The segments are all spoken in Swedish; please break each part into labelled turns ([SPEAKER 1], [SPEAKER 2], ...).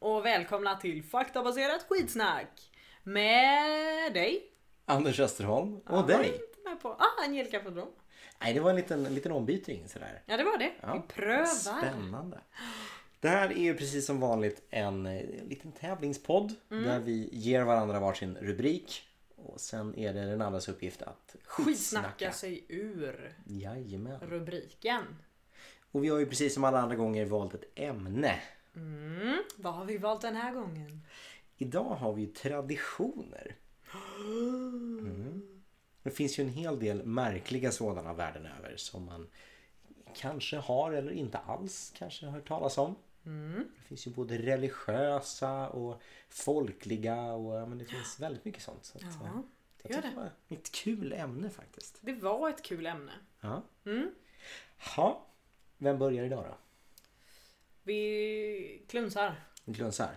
[SPEAKER 1] välkomna till faktabaserat skitsnack! Med dig.
[SPEAKER 2] Anders Österholm och
[SPEAKER 1] Han var
[SPEAKER 2] dig.
[SPEAKER 1] inte med på. Ah, Angelica Fodrom.
[SPEAKER 2] Nej, det var en liten, en liten ombytning sådär.
[SPEAKER 1] Ja, det var det.
[SPEAKER 2] Ja,
[SPEAKER 1] Vi prövar.
[SPEAKER 2] Spännande. Det här är ju precis som vanligt en eh, liten tävlingspodd där vi ger varandra varsin rubrik och sen är det den andras uppgift att
[SPEAKER 1] Skitsnacka sig ur
[SPEAKER 2] Jajamän.
[SPEAKER 1] rubriken.
[SPEAKER 2] Och vi har ju precis som alla andra gånger valt ett ämne.
[SPEAKER 1] Mm, vad har vi valt den här gången?
[SPEAKER 2] Idag har vi ju traditioner. Mm. Det finns ju en hel del märkliga sådana världen över som man kanske har eller inte alls kanske har hört talas om.
[SPEAKER 1] Mm.
[SPEAKER 2] Det finns ju både religiösa och folkliga och ja, men det finns väldigt mycket sånt. Så att, eh,
[SPEAKER 1] Ja,
[SPEAKER 2] jag
[SPEAKER 1] gör
[SPEAKER 2] tyckte
[SPEAKER 1] det.
[SPEAKER 2] var ett kul ämne faktiskt.
[SPEAKER 1] Det var ett kul ämne.
[SPEAKER 2] Ja.
[SPEAKER 1] Mm.
[SPEAKER 2] Ha. Vem börjar idag då?
[SPEAKER 1] Vi klunsar.
[SPEAKER 2] Vi Klunsar?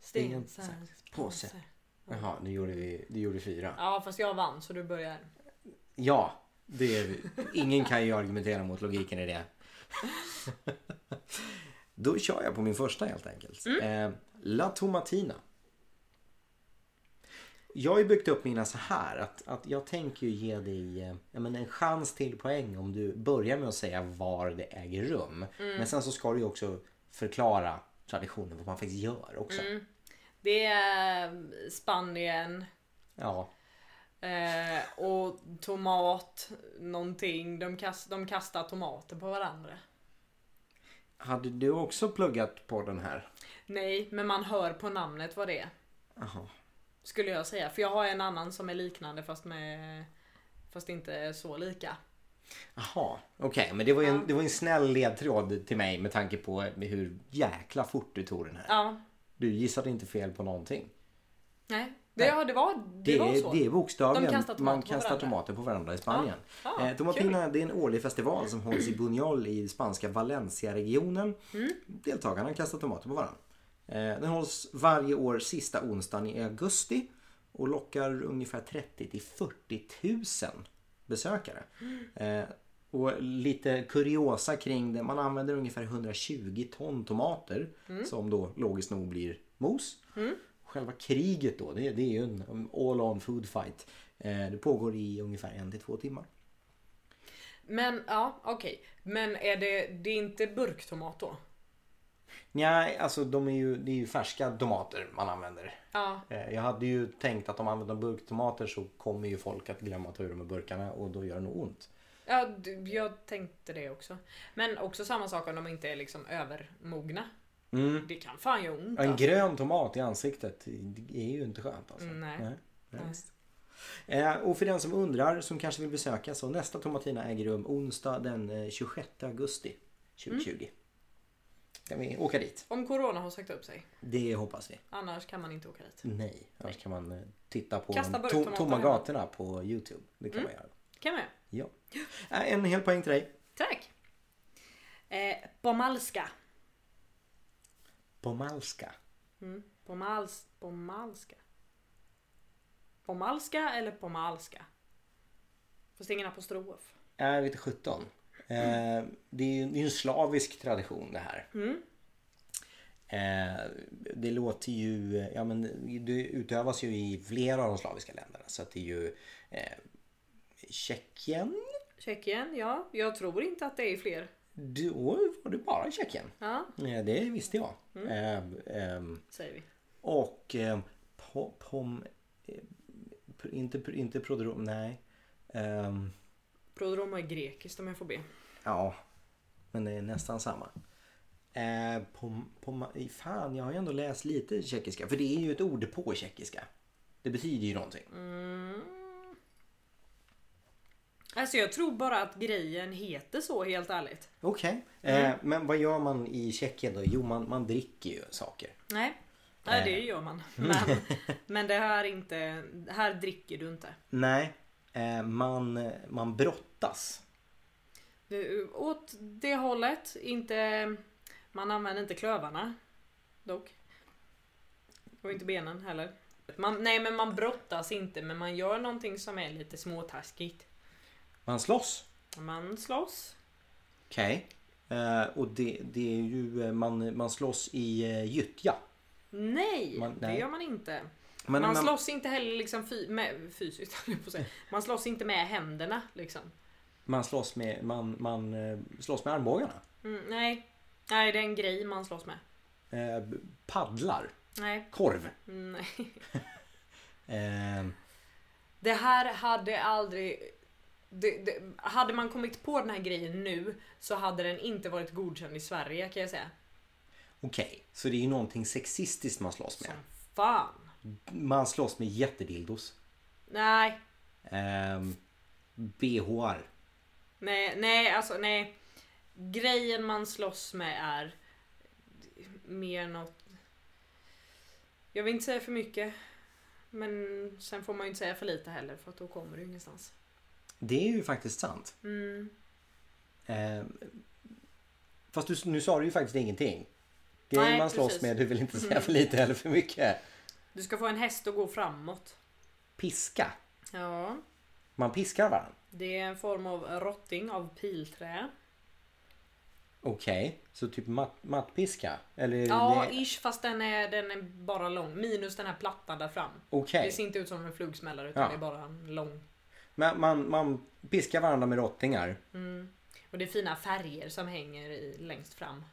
[SPEAKER 2] Sten,
[SPEAKER 1] Stensar.
[SPEAKER 2] sax, påse. Jaha, nu gjorde vi, du gjorde fyra.
[SPEAKER 1] Ja, fast jag vann så du börjar.
[SPEAKER 2] Ja, det är, ingen kan ju argumentera mot logiken i det. Då kör jag på min första helt enkelt. Eh, La Tomatina. Jag har ju byggt upp mina så här att, att jag tänker ju ge dig eh, ja, men en chans till poäng om du börjar med att säga var det äger rum. Men sen så ska du ju också förklara traditionen, vad man faktiskt gör också.
[SPEAKER 1] Det är eh, Spanien
[SPEAKER 2] Ja,
[SPEAKER 1] eh, och tomat någonting. De, kast, de kastar tomater på varandra.
[SPEAKER 2] hade du också pluggat på den här?
[SPEAKER 1] Nej, men man hör på namnet vad det är.
[SPEAKER 2] Jaha.
[SPEAKER 1] Skulle jag säga. För jag har en annan som är liknande fast med... Fast inte så lika.
[SPEAKER 2] Jaha, okej. men det var, ju en, det var ju en snäll ledtråd till mig med tanke på hur jäkla fort du tog den här.
[SPEAKER 1] Ja.
[SPEAKER 2] Du gissade inte fel på någonting.
[SPEAKER 1] Nej. Det, ja, det var, det
[SPEAKER 2] Det,
[SPEAKER 1] var så.
[SPEAKER 2] är, det är bokstavligen.
[SPEAKER 1] De kastar tomater
[SPEAKER 2] Man
[SPEAKER 1] på
[SPEAKER 2] kastar
[SPEAKER 1] varandra.
[SPEAKER 2] tomater på varandra i Spanien.
[SPEAKER 1] Ja,
[SPEAKER 2] eh, Tomatina det är en årlig festival som hålls i Buñol i spanska Valencia-regionen. Deltagarna kastar tomater på varandra. Eh, den hålls varje år sista onsdagen i augusti och lockar ungefär 30 till 40 000 besökare. Eh, och lite kuriosa kring det. Man använder ungefär 120 ton tomater som då logiskt nog blir mos. Själva kriget då, det, det är ju en all on food fight. Eh, det pågår i ungefär en till två timmar.
[SPEAKER 1] Men ja, okej. Men är det, det är inte burktomat då?
[SPEAKER 2] Nej, alltså de är ju, det är ju färska tomater man använder.
[SPEAKER 1] Ja.
[SPEAKER 2] Eh, jag hade ju tänkt att om man använder burktomater så kommer ju folk att glömma att ta ur dem ur burkarna och då gör det nog ont.
[SPEAKER 1] Ja, du- jag tänkte det också. Men också samma sak om de inte är liksom övermogna. Det kan fan göra ont.
[SPEAKER 2] Ja, Mm. En
[SPEAKER 1] alltså. Mm,
[SPEAKER 2] grön tomat i ansiktet det är ju inte skönt alltså.
[SPEAKER 1] Nej.
[SPEAKER 2] nej, visst. Eh, och för den som undrar, som kanske vill besöka, så nästa Tomatina äger rum onsdag den eh, 26 augusti 2020.
[SPEAKER 1] Mm.
[SPEAKER 2] Kan vi åka dit?
[SPEAKER 1] Om corona har sagt upp sig.
[SPEAKER 2] Det hoppas vi.
[SPEAKER 1] Annars kan man inte åka dit.
[SPEAKER 2] Nej, annars kan man eh, titta på
[SPEAKER 1] Kasta
[SPEAKER 2] de to-
[SPEAKER 1] burktomaterna. Mm.
[SPEAKER 2] tomma gatorna på Youtube. Det kan man göra.
[SPEAKER 1] Kan man göra.
[SPEAKER 2] Ja. Eh, en hel poäng till dig.
[SPEAKER 1] Tack! Eh, pomalska.
[SPEAKER 2] Pomalska.
[SPEAKER 1] Mm. Pomals, pomalska. Pomalska eller pomalska? Fast ingen apostrof.
[SPEAKER 2] Jag vet inte, 17. Eh, det är ju det är ju en slavisk tradition det här. Eh, det låter ju, ja men det utövas ju i flera av de slaviska länderna. Så att det är ju eh, Tjeckien.
[SPEAKER 1] Tjeckien, ja. Jag tror inte att det är fler.
[SPEAKER 2] Då var det bara Tjeckien.
[SPEAKER 1] Ja,
[SPEAKER 2] Eh, det visste jag. Eh, ehm,
[SPEAKER 1] säger vi.
[SPEAKER 2] Och eh, po- pom... eh, pr- Inte, pr- inte prodrom, nej. Ehm,
[SPEAKER 1] Prodroma är grekiskt om jag får be.
[SPEAKER 2] ja, men det är nästan samma. Eh, pom, pom, i- fan, jag har ju ändå läst lite tjeckiska. För det är ju ett ord på tjeckiska. Det betyder ju någonting.
[SPEAKER 1] Alltså jag tror bara att grejen heter så helt ärligt.
[SPEAKER 2] Okej. Eh, men vad gör man i Tjeckien då? Jo, man, man dricker ju saker.
[SPEAKER 1] Nej. Nej det gör man. Men, men det här är inte... Här dricker du inte.
[SPEAKER 2] Nej, eh, man, man brottas.
[SPEAKER 1] Du, åt det hållet, inte... Man använder inte klövarna. Dock. Och inte benen heller. Man, nej men man brottas inte men man gör någonting som är lite småtaskigt.
[SPEAKER 2] Man slåss.
[SPEAKER 1] Man slåss.
[SPEAKER 2] Okej. Eh, och det, det är ju, eh, man, man slåss i eh, gyttja.
[SPEAKER 1] Nej,
[SPEAKER 2] Man-
[SPEAKER 1] det
[SPEAKER 2] nej.
[SPEAKER 1] gör man inte.
[SPEAKER 2] Men,
[SPEAKER 1] man
[SPEAKER 2] men,
[SPEAKER 1] slåss inte heller liksom fy, med, fysiskt, höll jag på att säga. Man slåss inte med händerna liksom.
[SPEAKER 2] man, slåss med, man, man eh, slåss med armbågarna.
[SPEAKER 1] Mm, nej. nej, det är en grej man slåss med.
[SPEAKER 2] Eh, paddlar.
[SPEAKER 1] Nej.
[SPEAKER 2] Korv.
[SPEAKER 1] Mm, nej.
[SPEAKER 2] Eh,
[SPEAKER 1] Det här hade aldrig... Det, det, hade man kommit på den här grejen nu så hade den inte varit godkänd i Sverige kan jag säga.
[SPEAKER 2] Okej, så det är ju någonting sexistiskt man slåss
[SPEAKER 1] Som
[SPEAKER 2] med.
[SPEAKER 1] fan.
[SPEAKER 2] Man slåss med jättedildos.
[SPEAKER 1] Nej,
[SPEAKER 2] Ehm, BHR.
[SPEAKER 1] nej, nej, alltså nej. Grejen man slåss med är mer något... Jag vill inte säga för mycket. Men sen får man ju inte säga för lite heller för att då kommer du ingenstans.
[SPEAKER 2] Det är ju faktiskt sant.
[SPEAKER 1] Mm.
[SPEAKER 2] Ehm, fast du, nu sa du ju faktiskt ingenting. Grejen
[SPEAKER 1] Nej,
[SPEAKER 2] man slåss
[SPEAKER 1] precis.
[SPEAKER 2] med, du vill inte säga för lite eller för mycket.
[SPEAKER 1] Du ska få en häst att gå framåt.
[SPEAKER 2] Piska.
[SPEAKER 1] Ja.
[SPEAKER 2] Man piskar varandra.
[SPEAKER 1] Det är en form av rotting av pilträ.
[SPEAKER 2] Okej, så typ matt, mattpiska? Eller
[SPEAKER 1] Ja,
[SPEAKER 2] det-
[SPEAKER 1] ish fast den är, den är bara lång. Minus den här plattan där fram.
[SPEAKER 2] Okej,
[SPEAKER 1] Det ser inte ut som en flugsmällare utan
[SPEAKER 2] Ja.
[SPEAKER 1] det är bara en lång.
[SPEAKER 2] men man, man piskar varandra med rottingar.
[SPEAKER 1] Och det är fina färger som hänger i, längst fram.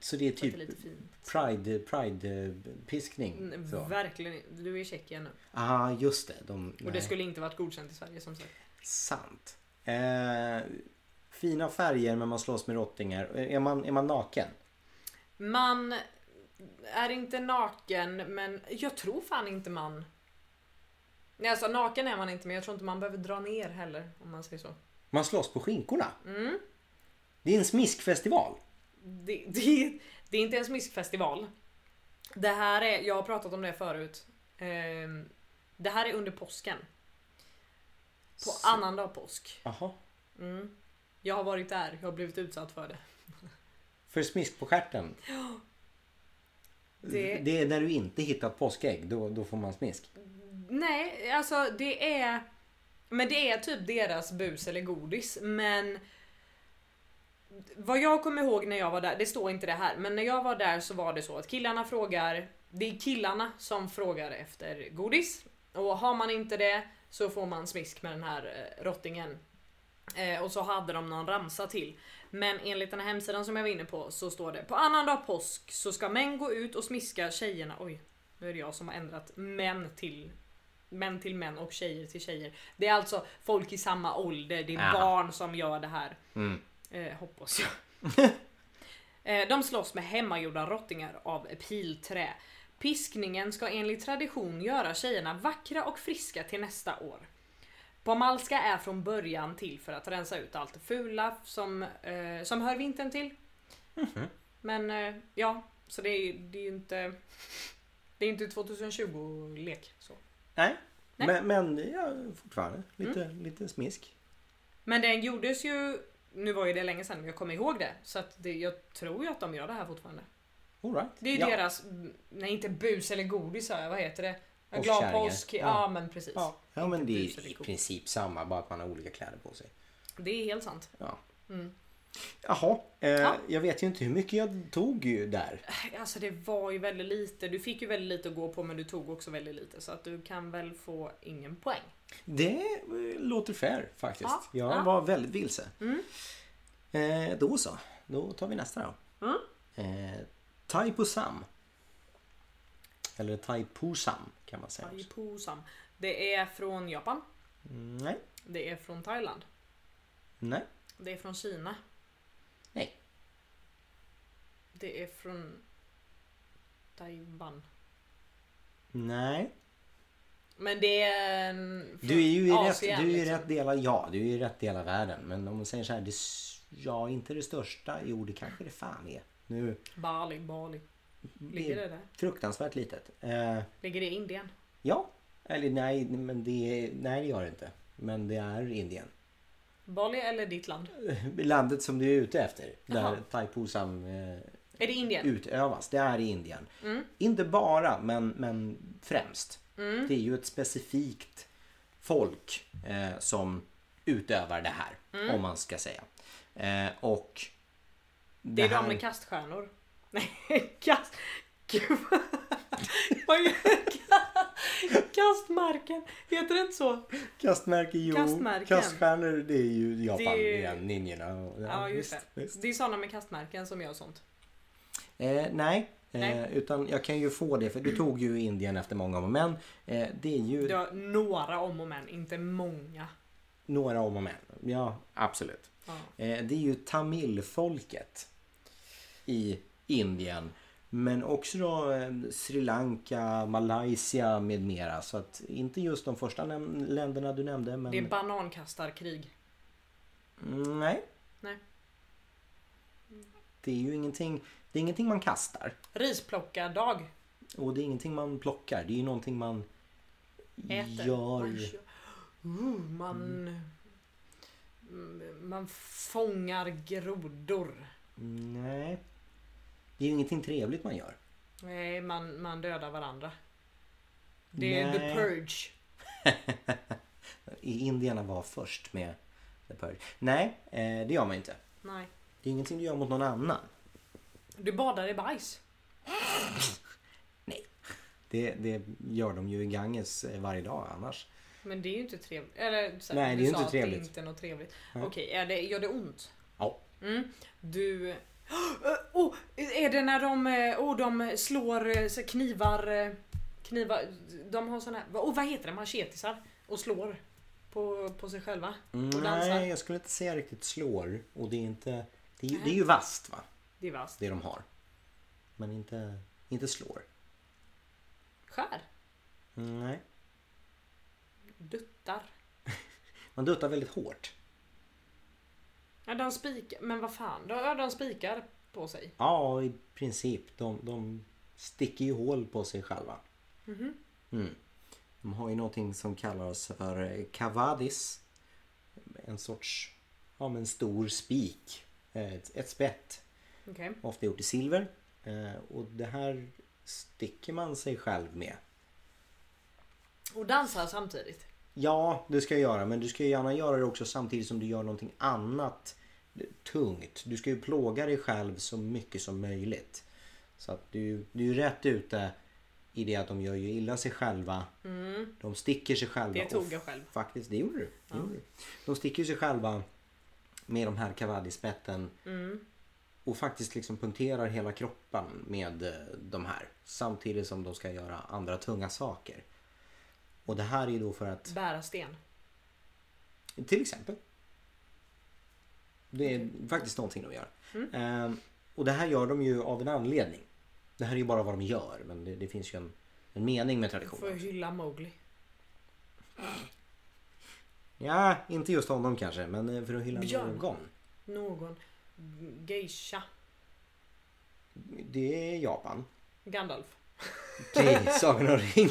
[SPEAKER 2] Så det är
[SPEAKER 1] Så att det är
[SPEAKER 2] typ
[SPEAKER 1] lite fint.
[SPEAKER 2] pride, pride eh, piskning.
[SPEAKER 1] Mm,
[SPEAKER 2] Så.
[SPEAKER 1] Verkligen. Du är i Tjeckien nu.
[SPEAKER 2] Ah, just det. De,
[SPEAKER 1] Och det
[SPEAKER 2] nej.
[SPEAKER 1] skulle inte varit godkänt i Sverige som sagt.
[SPEAKER 2] Sant. Eh, fina färger men man slåss med rottingar. Eh, Är man, är man naken?
[SPEAKER 1] Man är inte naken men jag tror fan inte man. Nej alltså naken är man inte men jag tror inte man behöver dra ner heller om man säger så.
[SPEAKER 2] Man slåss på skinkorna.
[SPEAKER 1] Mm.
[SPEAKER 2] Det är en smiskfestival.
[SPEAKER 1] Det, det, det är inte en smiskfestival. Det här är, jag har pratat om det förut. Ehm, Det här är under påsken. På
[SPEAKER 2] Så-
[SPEAKER 1] annandag påsk.
[SPEAKER 2] Jaha.
[SPEAKER 1] Mm. Jag har varit där, jag har blivit utsatt för det.
[SPEAKER 2] För smisk på stjärten. Det...
[SPEAKER 1] Det-
[SPEAKER 2] är när du inte hittat påskägg. Då, då får man smisk.
[SPEAKER 1] Nej, alltså det är... Men det är typ deras bus eller godis. Men... Vad jag kommer ihåg när jag var där, det står inte det här, men när jag var där så var det så att killarna frågar... Det är killarna som frågar efter godis. Och har man inte det så får man smisk med den här eh, rottingen. Eh, och så hade de någon ramsa till. Men enligt den här hemsidan som jag var inne på så står det på annandag påsk så ska män gå ut och smiska tjejerna. Oj, nu är det jag som har ändrat män till män till män och tjejer till tjejer. Det är alltså folk i samma ålder. Det är
[SPEAKER 2] Aha.
[SPEAKER 1] barn som gör det här.
[SPEAKER 2] Mm.
[SPEAKER 1] Eh, hoppas jag. eh, de slåss med hemmagjorda rottingar av pilträ. Piskningen ska enligt tradition göra tjejerna vackra och friska till nästa år. Pomalska är från början till för att rensa ut allt fula som, eh, som hör vintern till. Men eh, ja, så det är ju det är ju inte... Det är inte 2020-lek. så.
[SPEAKER 2] Nej.
[SPEAKER 1] Nej.
[SPEAKER 2] Men, men ja, fortfarande lite, lite smisk.
[SPEAKER 1] Men den gjordes ju... Nu var ju det länge sedan, men jag kommer ihåg det. Så att det, jag tror ju att de gör det här fortfarande.
[SPEAKER 2] All right.
[SPEAKER 1] Det är ju
[SPEAKER 2] ja.
[SPEAKER 1] deras, nej inte bus eller godis sa jag, vad heter det? En Glad
[SPEAKER 2] Påskkärringar.
[SPEAKER 1] påsk, ja.
[SPEAKER 2] Ja.
[SPEAKER 1] men precis.
[SPEAKER 2] Ja. ja, men det
[SPEAKER 1] bus
[SPEAKER 2] är
[SPEAKER 1] eller
[SPEAKER 2] i
[SPEAKER 1] kor.
[SPEAKER 2] princip samma. Bara att man har olika kläder på sig.
[SPEAKER 1] Det är helt sant.
[SPEAKER 2] Ja.
[SPEAKER 1] Mm.
[SPEAKER 2] Jaha, eh,
[SPEAKER 1] Ja.
[SPEAKER 2] jag vet ju inte hur mycket jag tog ju där.
[SPEAKER 1] Alltså det var ju väldigt lite, du fick ju väldigt lite att gå på men du tog också väldigt lite så att du kan väl få ingen poäng.
[SPEAKER 2] Det eh, låter fair faktiskt.
[SPEAKER 1] Ja,
[SPEAKER 2] Jag
[SPEAKER 1] ja.
[SPEAKER 2] var väldigt vilse.
[SPEAKER 1] Mm.
[SPEAKER 2] Eh, då så, då tar vi nästa då.
[SPEAKER 1] Mm.
[SPEAKER 2] Eh, Taipusam. Eller Taipusam kan man säga. också.
[SPEAKER 1] Taipusam. Det är från Japan,
[SPEAKER 2] Mm, Nej,
[SPEAKER 1] det är från Thailand,
[SPEAKER 2] nej,
[SPEAKER 1] det är från Kina,
[SPEAKER 2] nej.
[SPEAKER 1] det är från Taiwan.
[SPEAKER 2] Nej.
[SPEAKER 1] Men det är... en-
[SPEAKER 2] Du är ju i,
[SPEAKER 1] från
[SPEAKER 2] rätt, du
[SPEAKER 1] Asien,
[SPEAKER 2] är i
[SPEAKER 1] liksom.
[SPEAKER 2] rätt del av, ja, du är i rätt del av världen. Men om man säger så här, det, s- ja, inte det största. Jo, det kanske det fan är. Nu,
[SPEAKER 1] liksom. Bali, Bali.
[SPEAKER 2] Mm,
[SPEAKER 1] Ligger det där?
[SPEAKER 2] fruktansvärt litet. Eh,
[SPEAKER 1] Ligger det i Indien?
[SPEAKER 2] Ja, eller nej, men det, är- nej, det gör det inte. Men det är Indien.
[SPEAKER 1] Bali eller ditt land?
[SPEAKER 2] Landet som du är ute efter,
[SPEAKER 1] Jaha.
[SPEAKER 2] där thaiposam eh,
[SPEAKER 1] Är det Indien?
[SPEAKER 2] utövas, det är i Indien.
[SPEAKER 1] Mm.
[SPEAKER 2] Inte bara, men, men främst.
[SPEAKER 1] Mm.
[SPEAKER 2] Det är ju ett specifikt folk eh, som utövar det här,
[SPEAKER 1] Mm.
[SPEAKER 2] om man ska säga. Eh, och
[SPEAKER 1] Det är
[SPEAKER 2] här-
[SPEAKER 1] de med kaststjärnor. Nej, kast... Gud vad... vad är- Kastmarken, heter det inte så?
[SPEAKER 2] Kastmärke, jo.
[SPEAKER 1] Kastmärken.
[SPEAKER 2] Kaststjärnor, det är ju Japan
[SPEAKER 1] Det är ju-
[SPEAKER 2] igen. Ninjorna. och-
[SPEAKER 1] Ja, just
[SPEAKER 2] visst,
[SPEAKER 1] det.
[SPEAKER 2] visst.
[SPEAKER 1] Det är sådana med kastmärken som gör sånt.
[SPEAKER 2] Eh, nej.
[SPEAKER 1] Nej.
[SPEAKER 2] Eh, utan jag kan ju få det för du tog ju Indien efter många om och men. Eh, det är ju
[SPEAKER 1] Du har några om och men, inte många.
[SPEAKER 2] några om och men. Ja, absolut.
[SPEAKER 1] Ja.
[SPEAKER 2] Eh, det är ju tamilfolket i Indien. Men också då eh, Sri Lanka, Malaysia med mera. Så att inte just de första näm- länderna du nämnde. Men...
[SPEAKER 1] Det är banankastarkrig.
[SPEAKER 2] Mm, nej.
[SPEAKER 1] Nej.
[SPEAKER 2] Det är ju ingenting, det är ingenting man kastar.
[SPEAKER 1] Risplockardag.
[SPEAKER 2] Och det är ingenting man plockar. Det är ju någonting man
[SPEAKER 1] Äter. Man,
[SPEAKER 2] gör.
[SPEAKER 1] kö- Ooh, Uh, man,
[SPEAKER 2] Mm.
[SPEAKER 1] Mm, man fångar grodor.
[SPEAKER 2] Nej. Det är ju ingenting trevligt man gör.
[SPEAKER 1] Nej, man, man dödar varandra. Det är the
[SPEAKER 2] Nej.
[SPEAKER 1] purge.
[SPEAKER 2] I- Indierna var först med The Purge. Nej, eh, det gör man inte.
[SPEAKER 1] Nej.
[SPEAKER 2] Det är ingenting du gör mot någon annan.
[SPEAKER 1] Du badar i bajs.
[SPEAKER 2] Det, det gör de ju i Ganges eh, varje dag annars.
[SPEAKER 1] Men det är ju inte trevligt. Eller så här,
[SPEAKER 2] Nej, det
[SPEAKER 1] du
[SPEAKER 2] är ju
[SPEAKER 1] sa
[SPEAKER 2] inte
[SPEAKER 1] att
[SPEAKER 2] trevligt.
[SPEAKER 1] Det är inte något trevligt.
[SPEAKER 2] Nej.
[SPEAKER 1] Okej, är det, gör det ont?
[SPEAKER 2] Ja.
[SPEAKER 1] Mm. Du... Oh, är det när de, eh, oh, de slår eh, så här knivar... eh, Knivar... De har såna här... Oh, vad heter det? Machetisar. Och slår. På, på sig själva. Och dansar.
[SPEAKER 2] Nej, jag skulle inte säga riktigt slår. Och det är inte... Det är, ju-
[SPEAKER 1] Nej.
[SPEAKER 2] det är ju vast va?
[SPEAKER 1] Det är vasst.
[SPEAKER 2] Det de har. Men inte, inte slår.
[SPEAKER 1] Skär.
[SPEAKER 2] Nej.
[SPEAKER 1] Duttar.
[SPEAKER 2] Man duttar väldigt hårt.
[SPEAKER 1] Ja, de spikar. Men vad fan. De, ja, de spikar på sig.
[SPEAKER 2] Ja, i princip. De, de sticker ju hål på sig själva. Mm. De har ju någonting som kallas för eh, kavadis. En sorts ja, men stor spik. Eh, Ett, ett spett.
[SPEAKER 1] Okej.
[SPEAKER 2] Ofta gjort i silver. Eh, Och det här sticker man sig själv med.
[SPEAKER 1] Och dansar samtidigt.
[SPEAKER 2] Ja, det ska jag göra. Men du ska ju gärna göra det också samtidigt som du gör någonting annat tungt. Du ska ju plåga dig själv så mycket som möjligt. Så att du, du är ju rätt ute i det att de gör ju illa sig själva. De sticker sig själva.
[SPEAKER 1] Mm. Det tog
[SPEAKER 2] och
[SPEAKER 1] jag själv.
[SPEAKER 2] Faktiskt, det gjorde du. Det gjorde du. De sticker sig själva med de här kavadispetten.
[SPEAKER 1] Mm.
[SPEAKER 2] Och faktiskt liksom punkterar hela kroppen med eh, de här. Samtidigt som de ska göra andra tunga saker. Och det här är ju då för att
[SPEAKER 1] Bära sten.
[SPEAKER 2] till exempel. Det är faktiskt någonting de gör.
[SPEAKER 1] Mm.
[SPEAKER 2] Ehm, och det här gör de ju av en anledning. Det här är ju bara vad de gör men det, det finns ju en, en mening med
[SPEAKER 1] För att
[SPEAKER 2] traditionen.
[SPEAKER 1] hylla Mowgli.
[SPEAKER 2] Ja, inte just honom kanske men eh, för att hylla
[SPEAKER 1] Björn.
[SPEAKER 2] någon.
[SPEAKER 1] Någon geisha.
[SPEAKER 2] Det är Japan.
[SPEAKER 1] Gandalf.
[SPEAKER 2] Okej, Sagan om ringen.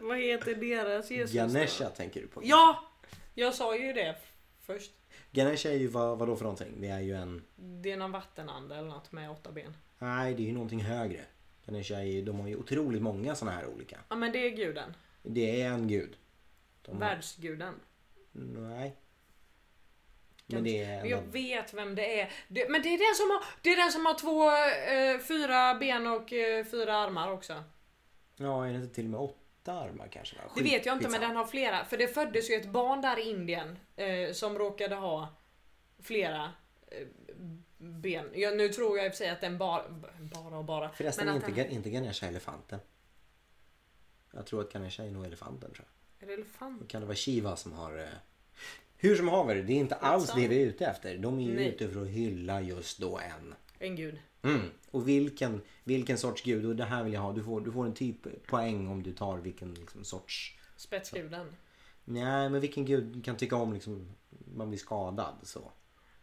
[SPEAKER 1] Vad heter deras Jesus?
[SPEAKER 2] Ganesha tänker du på.
[SPEAKER 1] Ja! Jag sa ju det först.
[SPEAKER 2] Ganesha är ju vad, vadå för någonting? Det är ju en...
[SPEAKER 1] Det är någon vattenande eller något med åtta ben.
[SPEAKER 2] Nej, det är ju någonting högre. Ganesha är ju, de har ju otroligt många sådana här olika.
[SPEAKER 1] Ja men det är guden.
[SPEAKER 2] Det är en gud. De har-
[SPEAKER 1] Världsguden.
[SPEAKER 2] Nej. Men det är en
[SPEAKER 1] Jag
[SPEAKER 2] av-
[SPEAKER 1] vet vem det är. Det, men det är den som har, det är den som har två, eh, fyra ben och eh, fyra armar också.
[SPEAKER 2] Ja, är det inte till och med åtta armar kanske? Va?
[SPEAKER 1] Det
[SPEAKER 2] Skit-
[SPEAKER 1] vet jag inte men
[SPEAKER 2] skitsamma.
[SPEAKER 1] den har flera. För det föddes ju ett barn där i Indien eh, som råkade ha flera eh, ben. Ja, nu tror jag i och för sig att den bara, bara och bara.
[SPEAKER 2] Förresten,
[SPEAKER 1] men att
[SPEAKER 2] inte,
[SPEAKER 1] den-
[SPEAKER 2] Ga- inte Ganesha elefanten. Jag tror att Ganesha är nog elefanten tror jag.
[SPEAKER 1] Är det elefant?
[SPEAKER 2] Då kan det vara Shiva som har... eh, Hur som haver, det är inte alls det vi är ute efter. De är ju
[SPEAKER 1] Nej.
[SPEAKER 2] ute för att hylla just då en.
[SPEAKER 1] En gud.
[SPEAKER 2] Mm. Och vilken, vilken sorts gud, och det här vill jag ha. Du får, du får en typ poäng om du tar vilken liksom, sorts...
[SPEAKER 1] Spetsguden.
[SPEAKER 2] Nej, men vilken gud kan tycka om liksom, man blir skadad så.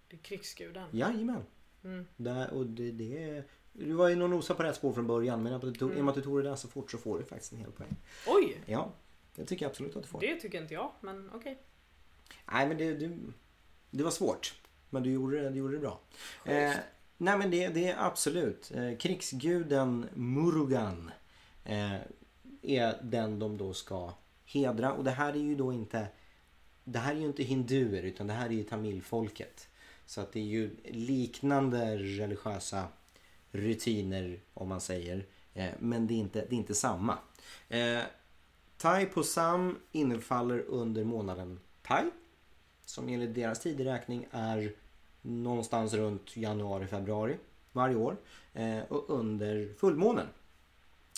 [SPEAKER 1] Det är krigsguden.
[SPEAKER 2] Jajamän.
[SPEAKER 1] Mm.
[SPEAKER 2] Där, och det, det är... Du var ju nog nosa på rätt spår från början men att du tog, i och med att du tog det där så fort så får du faktiskt en hel poäng.
[SPEAKER 1] Oj!
[SPEAKER 2] Ja, det tycker jag absolut att du får.
[SPEAKER 1] Det tycker inte jag, men okej.
[SPEAKER 2] Nej men det, det, det var svårt. Men du gjorde det, du gjorde det bra. Eh,
[SPEAKER 1] Schysst.
[SPEAKER 2] nej men det, det är absolut. Eh, krigsguden Murugan eh, är den de då ska hedra. Och det här är ju då inte det här är ju inte hinduer utan det här är ju tamilfolket. Så att det är ju liknande religiösa rutiner om man säger. Eh, men det är inte, det är inte samma. Eh, thai på Sam infaller under månaden Thai. Som enligt deras tideräkning är någonstans runt januari, februari varje år. Eh, och under fullmånen.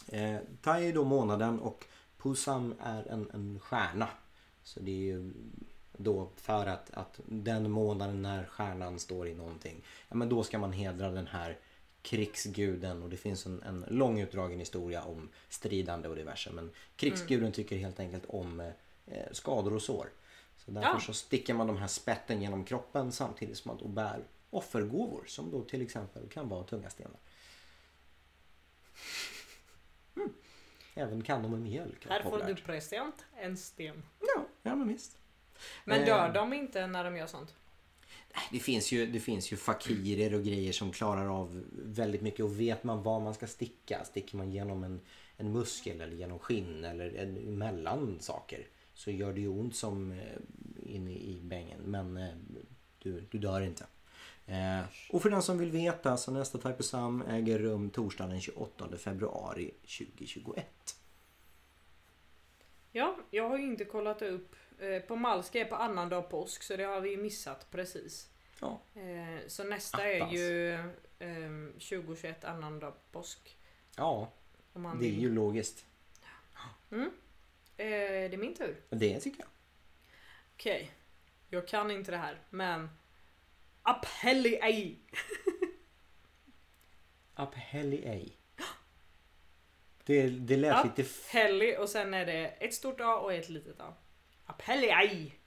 [SPEAKER 2] Eh, thai är då månaden och Pusam är en, en stjärna. Så det är ju då för att, att den månaden när stjärnan står i någonting. Ja, men då ska man hedra den här krigsguden och det finns en, en lång utdragen historia om stridande och diverse. Men krigsguden tycker helt enkelt om eh, skador och sår. Så därför
[SPEAKER 1] Ja.
[SPEAKER 2] så sticker man de här spetten genom kroppen samtidigt som man då bär offergåvor som då till exempel kan vara tunga stenar. Mm. Även kan de en mjölk.
[SPEAKER 1] Här får du present, en sten.
[SPEAKER 2] Ja, ja men visst.
[SPEAKER 1] Men dör
[SPEAKER 2] Eh.
[SPEAKER 1] de inte när de gör sånt?
[SPEAKER 2] Det finns, ju, det finns ju fakirer och grejer som klarar av väldigt mycket och vet man var man ska sticka, sticker man genom en, en muskel eller genom skinn eller en, mellan saker så gör det ju ont som eh, in i, i bängen men eh, du, du dör inte. Eh, och för den som vill veta så nästa Type Sam äger rum torsdagen den 28 februari 2021.
[SPEAKER 1] Ja, jag har ju inte kollat upp. Eh, På Malska är på annandag påsk så det har vi ju missat precis.
[SPEAKER 2] Ja.
[SPEAKER 1] Eh, Så nästa är
[SPEAKER 2] Attans.
[SPEAKER 1] ju eh, 2021 annandag påsk.
[SPEAKER 2] ja,
[SPEAKER 1] Om man
[SPEAKER 2] det är
[SPEAKER 1] vill.
[SPEAKER 2] ju logiskt.
[SPEAKER 1] Eh, Det är min tur.
[SPEAKER 2] Det tycker jag.
[SPEAKER 1] Okej, jag kan inte det här men Apelli ej!
[SPEAKER 2] Aphelli ej. Det, det lät
[SPEAKER 1] Ja.
[SPEAKER 2] lite
[SPEAKER 1] Apelli och sen är det ett stort A och ett litet A. Apelli ej!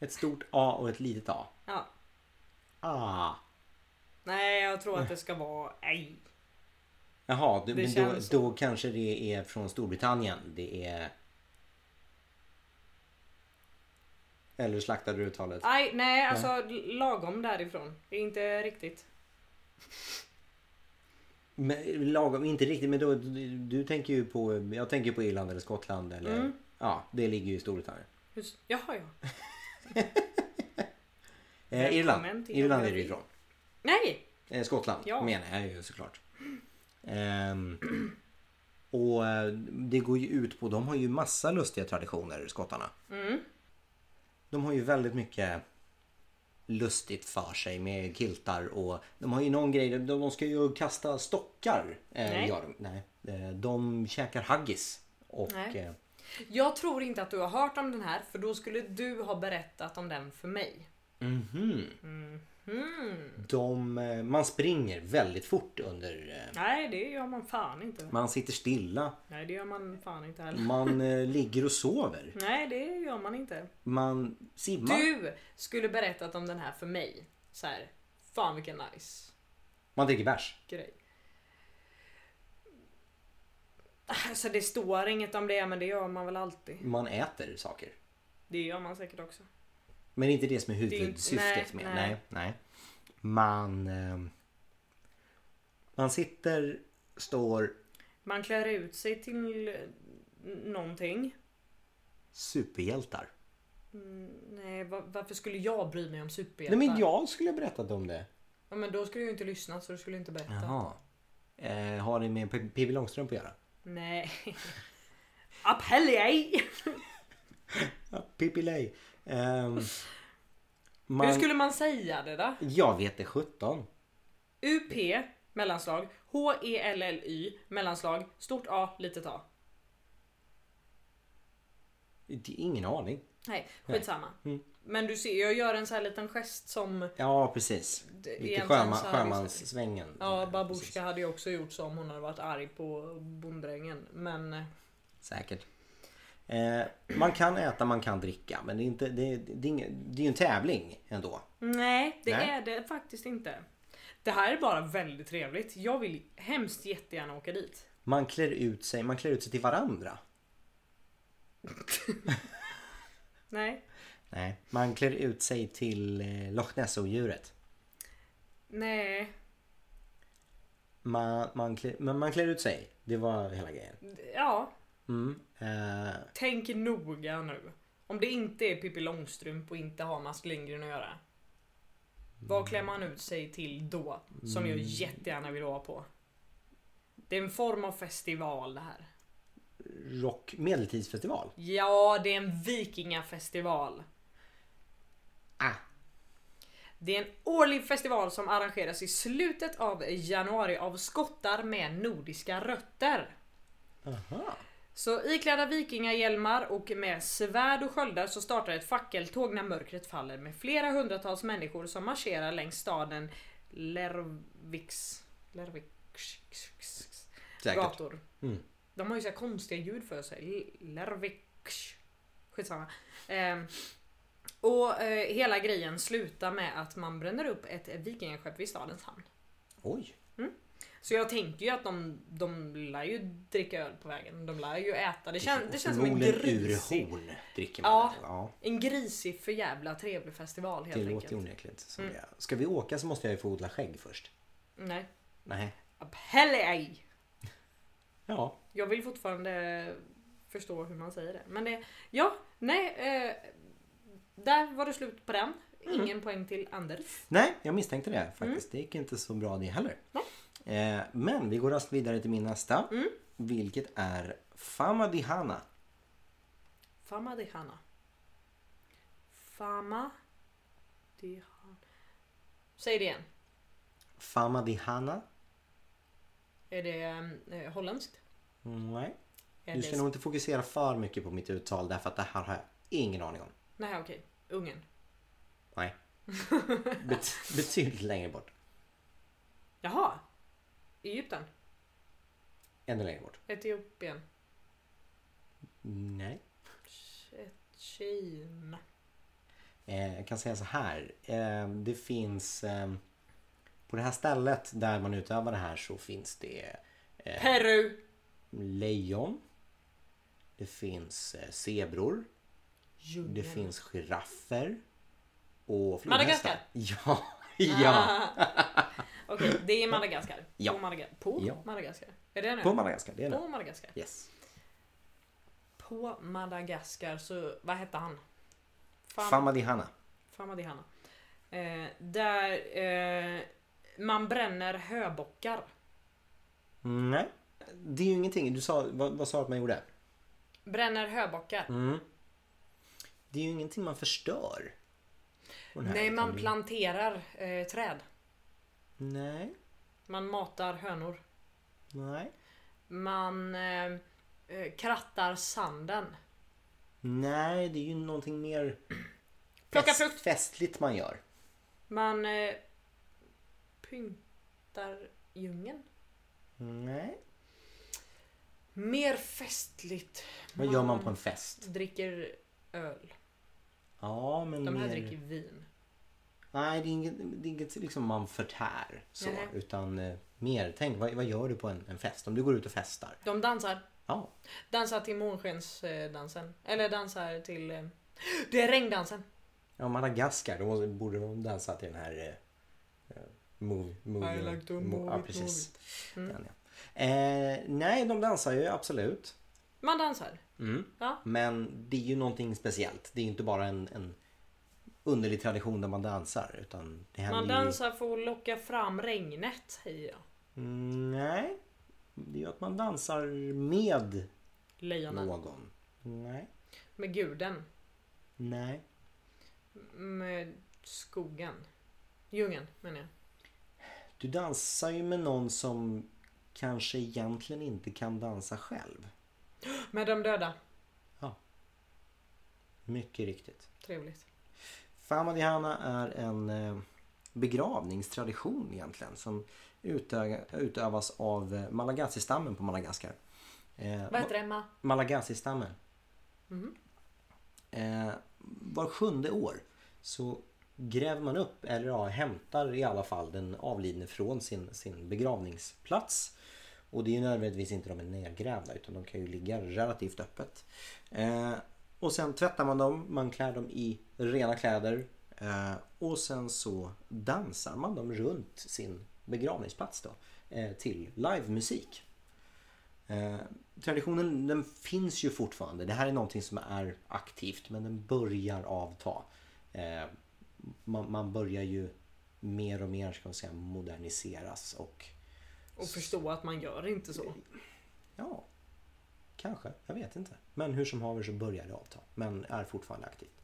[SPEAKER 2] Ett stort A och ett litet A.
[SPEAKER 1] Ja.
[SPEAKER 2] Ah.
[SPEAKER 1] Nej, jag tror att det ska vara ej.
[SPEAKER 2] Jaha, du,
[SPEAKER 1] Det
[SPEAKER 2] men då,
[SPEAKER 1] känns så.
[SPEAKER 2] då kanske det är från Storbritannien. Det är... Eller slaktade du uttalet?
[SPEAKER 1] Aj, nej, alltså lagom därifrån. Det är inte riktigt.
[SPEAKER 2] Men, lagom, inte riktigt, men då, du, du tänker ju på... Jag tänker på Irland eller Skottland eller...
[SPEAKER 1] Mm.
[SPEAKER 2] Ja, det ligger ju i Storbritannien.
[SPEAKER 1] Just, jaha, ja.
[SPEAKER 2] Eh,
[SPEAKER 1] Välkommen
[SPEAKER 2] Irland.
[SPEAKER 1] till
[SPEAKER 2] Irland är det
[SPEAKER 1] geografi.
[SPEAKER 2] ifrån.
[SPEAKER 1] Nej!
[SPEAKER 2] Eh, Skottland
[SPEAKER 1] Ja.
[SPEAKER 2] menar jag ju såklart. Ehm, och eh, det går ju ut på, de har ju massa lustiga traditioner, skottarna.
[SPEAKER 1] Mm.
[SPEAKER 2] De har ju väldigt mycket lustigt för sig med kiltar och de har ju någon grej, de, de ska ju kasta stockar. Eh,
[SPEAKER 1] Nej.
[SPEAKER 2] Gör de. Nej. Eh, de käkar haggis. Och,
[SPEAKER 1] Nej.
[SPEAKER 2] eh,
[SPEAKER 1] Jag tror inte att du har hört om den här för då skulle du ha berättat om den för mig.
[SPEAKER 2] mhm.
[SPEAKER 1] Mm.
[SPEAKER 2] de, eh, man springer väldigt fort under... Eh,
[SPEAKER 1] Nej, det gör man fan inte.
[SPEAKER 2] man sitter stilla,
[SPEAKER 1] Nej, det gör man fan inte heller.
[SPEAKER 2] man eh, ligger och sover,
[SPEAKER 1] Nej, det gör man inte.
[SPEAKER 2] man simmar.
[SPEAKER 1] Du skulle berättat om den här för mig. Så här, fan vilken nice
[SPEAKER 2] Man dricker bärs.
[SPEAKER 1] grej. Alltså det står inget om det men det gör man väl alltid.
[SPEAKER 2] Man äter saker.
[SPEAKER 1] Det gör man säkert också.
[SPEAKER 2] Men det är inte det som är
[SPEAKER 1] är inte-
[SPEAKER 2] huvudsyftet
[SPEAKER 1] nej,
[SPEAKER 2] med.
[SPEAKER 1] nej.
[SPEAKER 2] Nej, nej. Man... ehm, man sitter, står,
[SPEAKER 1] Man klär ut sig till eh, någonting.
[SPEAKER 2] superhjältar.
[SPEAKER 1] Mm, nej, va- varför skulle jag bry mig om superhjältar?
[SPEAKER 2] Nej men jag skulle ha berättat om det.
[SPEAKER 1] ja, men då skulle jag ju inte lyssna så du skulle inte berätta.
[SPEAKER 2] Jaha. Eh, har det med P- Pippi Långstrump att göra?
[SPEAKER 1] Nej. Appelli!
[SPEAKER 2] Ja, Pippi Lej. Ehm,
[SPEAKER 1] Hur
[SPEAKER 2] man,
[SPEAKER 1] skulle man säga det då?
[SPEAKER 2] Jag vet det sjutton.
[SPEAKER 1] UP mellanslag E H-E-L-L-Y mellanslag stort A litet A.
[SPEAKER 2] Det är ingen aning.
[SPEAKER 1] Nej, skitsamma.
[SPEAKER 2] Nej. Mm.
[SPEAKER 1] Men du ser, jag gör en sån här liten gest som
[SPEAKER 2] Ja precis.
[SPEAKER 1] d-
[SPEAKER 2] Lite
[SPEAKER 1] egentligen
[SPEAKER 2] sjöma,
[SPEAKER 1] så här-
[SPEAKER 2] sjömanssvängen.
[SPEAKER 1] Ja,
[SPEAKER 2] Precis.
[SPEAKER 1] babusjka hade ju också gjort så om hon hade varit arg på bonddrängen. Men eh,
[SPEAKER 2] Säkert. Eh, man kan äta, man kan dricka. Men det är, inte, det, det, det är, ingen, det är ju en tävling ändå.
[SPEAKER 1] nej, det
[SPEAKER 2] Nej.
[SPEAKER 1] är det faktiskt inte. Det här är bara väldigt trevligt. Jag vill hemskt jättegärna åka dit.
[SPEAKER 2] Man klär ut sig, man klär ut sig till varandra.
[SPEAKER 1] Nej,
[SPEAKER 2] Nej. Man klär ut sig till eh, Loch Ness-odjuret.
[SPEAKER 1] nej,
[SPEAKER 2] Man, man, klär, men man klär ut sig. Det var hela grejen.
[SPEAKER 1] d- ja,
[SPEAKER 2] Mm. Eh,
[SPEAKER 1] tänk noga nu. Om det inte är Pippi Långstrump och inte har med Astrid Lindgren att göra. Vad klär man ut sig till då? Som jag jättegärna vill vara på. Det är en form av festival det här.
[SPEAKER 2] Rock medeltidsfestival.
[SPEAKER 1] Ja, det är en vikingafestival.
[SPEAKER 2] Ah.
[SPEAKER 1] Det är en årlig festival som arrangeras i slutet av januari av skottar med nordiska rötter.
[SPEAKER 2] Aha.
[SPEAKER 1] Så iklädda vikingahjälmar och med svärd och sköldar så startar ett fackeltåg när mörkret faller med flera hundratals människor som marscherar längs staden Lerviks... Lerviks...
[SPEAKER 2] Säkert.
[SPEAKER 1] gator.
[SPEAKER 2] Mm.
[SPEAKER 1] De har ju så här konstiga ljud för sig. Lerviks... Skitsamma. Ehm, och eh, hela grejen slutar med att man bränner upp ett vikingaskepp vid stadens hamn.
[SPEAKER 2] Oj.
[SPEAKER 1] Så jag tänker ju att de, de lär ju dricka öl på vägen. De lär ju äta. Det, kän, det
[SPEAKER 2] Och
[SPEAKER 1] känns som en
[SPEAKER 2] förmodligen ur
[SPEAKER 1] grisig,
[SPEAKER 2] horn dricker man.
[SPEAKER 1] Ja.
[SPEAKER 2] ja.
[SPEAKER 1] en grisig för jävla trevlig festival helt
[SPEAKER 2] Det låter ju
[SPEAKER 1] enkelt. Mm.
[SPEAKER 2] onekligen som det. Ska vi åka så måste jag ju få odla skägg först.
[SPEAKER 1] Nej.
[SPEAKER 2] Nej.
[SPEAKER 1] Abhelle ej!
[SPEAKER 2] Ja.
[SPEAKER 1] Jag vill fortfarande förstå hur man säger det. Men det, ja, nej. Eh, där var det slut på den.
[SPEAKER 2] Mm.
[SPEAKER 1] Ingen poäng till Anders.
[SPEAKER 2] Nej, jag misstänkte det
[SPEAKER 1] Mm.
[SPEAKER 2] faktiskt. Det gick inte så bra det heller. Eh, men vi går raskt vidare till min nästa.
[SPEAKER 1] Mm.
[SPEAKER 2] Vilket är Famadihana.
[SPEAKER 1] Fama Dihana. Fama Dihana. Säg det igen.
[SPEAKER 2] Famadihana?
[SPEAKER 1] Är det eh, holländskt?
[SPEAKER 2] Nej.
[SPEAKER 1] Är
[SPEAKER 2] Du
[SPEAKER 1] det
[SPEAKER 2] ska nog inte fokusera för mycket på mitt uttal därför att det här har jag ingen aning om.
[SPEAKER 1] Nej okej, Ungern.
[SPEAKER 2] Nej. Bet- betydligt längre bort.
[SPEAKER 1] Jaha! Egypten?
[SPEAKER 2] Ännu längre bort.
[SPEAKER 1] Etiopien?
[SPEAKER 2] Nej.
[SPEAKER 1] Ch- Kina?
[SPEAKER 2] Eh, jag kan säga så här. Eh, det finns... Eh, på det här stället där man utövar det här så finns det eh,
[SPEAKER 1] Peru?
[SPEAKER 2] lejon. Det finns eh, zebror. Det
[SPEAKER 1] Djungeln?
[SPEAKER 2] finns giraffer. Och flodhästar.
[SPEAKER 1] Mm. Madagaskar? Ah.
[SPEAKER 2] Ja. ja.
[SPEAKER 1] Okej, det är Madagaskar.
[SPEAKER 2] Ja.
[SPEAKER 1] På, Madaga- på
[SPEAKER 2] Ja.
[SPEAKER 1] Madagaskar? Är det nu?
[SPEAKER 2] På Madagaskar. Det är det.
[SPEAKER 1] på Madagaskar.
[SPEAKER 2] Yes.
[SPEAKER 1] På Madagaskar så, vad hette han? Fam-
[SPEAKER 2] Famadihana.
[SPEAKER 1] Famadihana. Eh, där eh, man bränner höbockar.
[SPEAKER 2] Nej. Det är ju ingenting. Du sa, vad, vad sa du att man gjorde?
[SPEAKER 1] Bränner höbockar.
[SPEAKER 2] Mm. Det är ju ingenting man förstör. på den här,
[SPEAKER 1] Nej,
[SPEAKER 2] utan
[SPEAKER 1] man
[SPEAKER 2] det-
[SPEAKER 1] planterar eh, träd.
[SPEAKER 2] Nej.
[SPEAKER 1] Man matar hönor.
[SPEAKER 2] Nej.
[SPEAKER 1] Man eh, eh, krattar sanden.
[SPEAKER 2] Nej, det är ju någonting mer
[SPEAKER 1] Plocka
[SPEAKER 2] fest-
[SPEAKER 1] frukt.
[SPEAKER 2] festligt man gör.
[SPEAKER 1] Man eh, pyntar djungeln.
[SPEAKER 2] Nej.
[SPEAKER 1] Mer festligt.
[SPEAKER 2] Vad gör
[SPEAKER 1] Ah.
[SPEAKER 2] man på en fest?
[SPEAKER 1] Dricker öl.
[SPEAKER 2] Ja, men
[SPEAKER 1] De här
[SPEAKER 2] mer...
[SPEAKER 1] dricker vin.
[SPEAKER 2] Nej, det är inget, det är inget liksom man förtär så.
[SPEAKER 1] Nej.
[SPEAKER 2] Utan eh, mer, tänk vad, vad gör du på en, en fest? Om du går ut och festar.
[SPEAKER 1] De dansar.
[SPEAKER 2] Ja.
[SPEAKER 1] Dansar till månskensdansen. Eller dansar till... Eh, det är regndansen.
[SPEAKER 2] Ja, Madagaskar, då måste- borde de dansa till den här... Eh, eh, move, move,
[SPEAKER 1] I like to
[SPEAKER 2] mo-
[SPEAKER 1] move
[SPEAKER 2] ja,
[SPEAKER 1] it, Mm.
[SPEAKER 2] precis.
[SPEAKER 1] move it.
[SPEAKER 2] Den, ja. Eh, nej, de dansar ju absolut. Mm.
[SPEAKER 1] Man dansar. Ja.
[SPEAKER 2] Men det är ju någonting speciellt. Det är ju inte bara en, en underlig tradition där man dansar. Utan det händer
[SPEAKER 1] Man
[SPEAKER 2] ju-
[SPEAKER 1] dansar för att locka fram regnet, säger jag.
[SPEAKER 2] Mm, Nej. Det är ju att man dansar med
[SPEAKER 1] Lejonen.
[SPEAKER 2] någon. Nej.
[SPEAKER 1] Med guden.
[SPEAKER 2] Nej.
[SPEAKER 1] Med skogen. Djungeln, menar jag.
[SPEAKER 2] Du dansar ju med någon som kanske egentligen inte kan dansa själv.
[SPEAKER 1] Med de döda.
[SPEAKER 2] Mycket riktigt.
[SPEAKER 1] Trevligt.
[SPEAKER 2] Famadihana är en eh, begravningstradition egentligen som utö- utövas av eh, Malagasy-stammen på Madagaskar. Eh,
[SPEAKER 1] Vad heter det? Ma?
[SPEAKER 2] Malagasy-stammen. Eh, var sjunde år så gräver man upp, eller ja, hämtar i alla fall den avlidne från sin, sin begravningsplats. Och det är ju nödvändigtvis inte de är nedgrävda utan de kan ju ligga relativt öppet. Eh, och sen tvättar man dem, man klär dem i rena kläder. Eh, och sen så dansar man dem runt sin begravningsplats då. Eh, till livemusik. Eh, traditionen den finns ju fortfarande. Det här är någonting som är aktivt men den börjar avta. Eh, man, man börjar ju mer och mer ska man säga, moderniseras och
[SPEAKER 1] Och förstå att man gör inte så.
[SPEAKER 2] ja, kanske, jag vet inte. Men hur som haver så börjar det avta, men är fortfarande aktivt.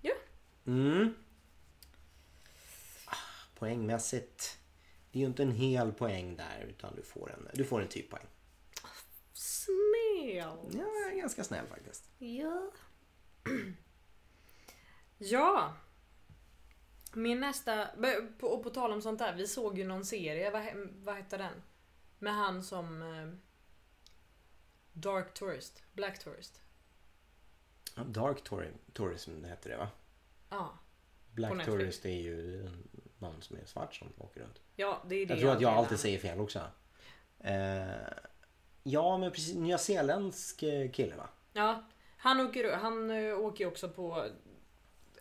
[SPEAKER 1] Ja.
[SPEAKER 2] Mm. Ah, Poängmässigt, det är ju inte en hel poäng där utan du får en, du får en typ poäng.
[SPEAKER 1] Snäll.
[SPEAKER 2] Ja, jag är ganska snäll faktiskt.
[SPEAKER 1] Ja. ja. Min nästa, b- på- och på tal om sånt där, vi såg ju någon serie, vad, he- vad hette den? Med han som eh, Dark Tourist, Black Tourist.
[SPEAKER 2] Dark tour- tourism heter det va?
[SPEAKER 1] Ja, På
[SPEAKER 2] Black
[SPEAKER 1] Netflix.
[SPEAKER 2] tourist är ju någon som är svart som åker runt.
[SPEAKER 1] ja det är det.
[SPEAKER 2] Jag tror att jag
[SPEAKER 1] gillar.
[SPEAKER 2] alltid säger fel också. Eh, ja men precis, nyzeeländsk eh, kille va?
[SPEAKER 1] Ja, han åker, han eh, åker ju också på...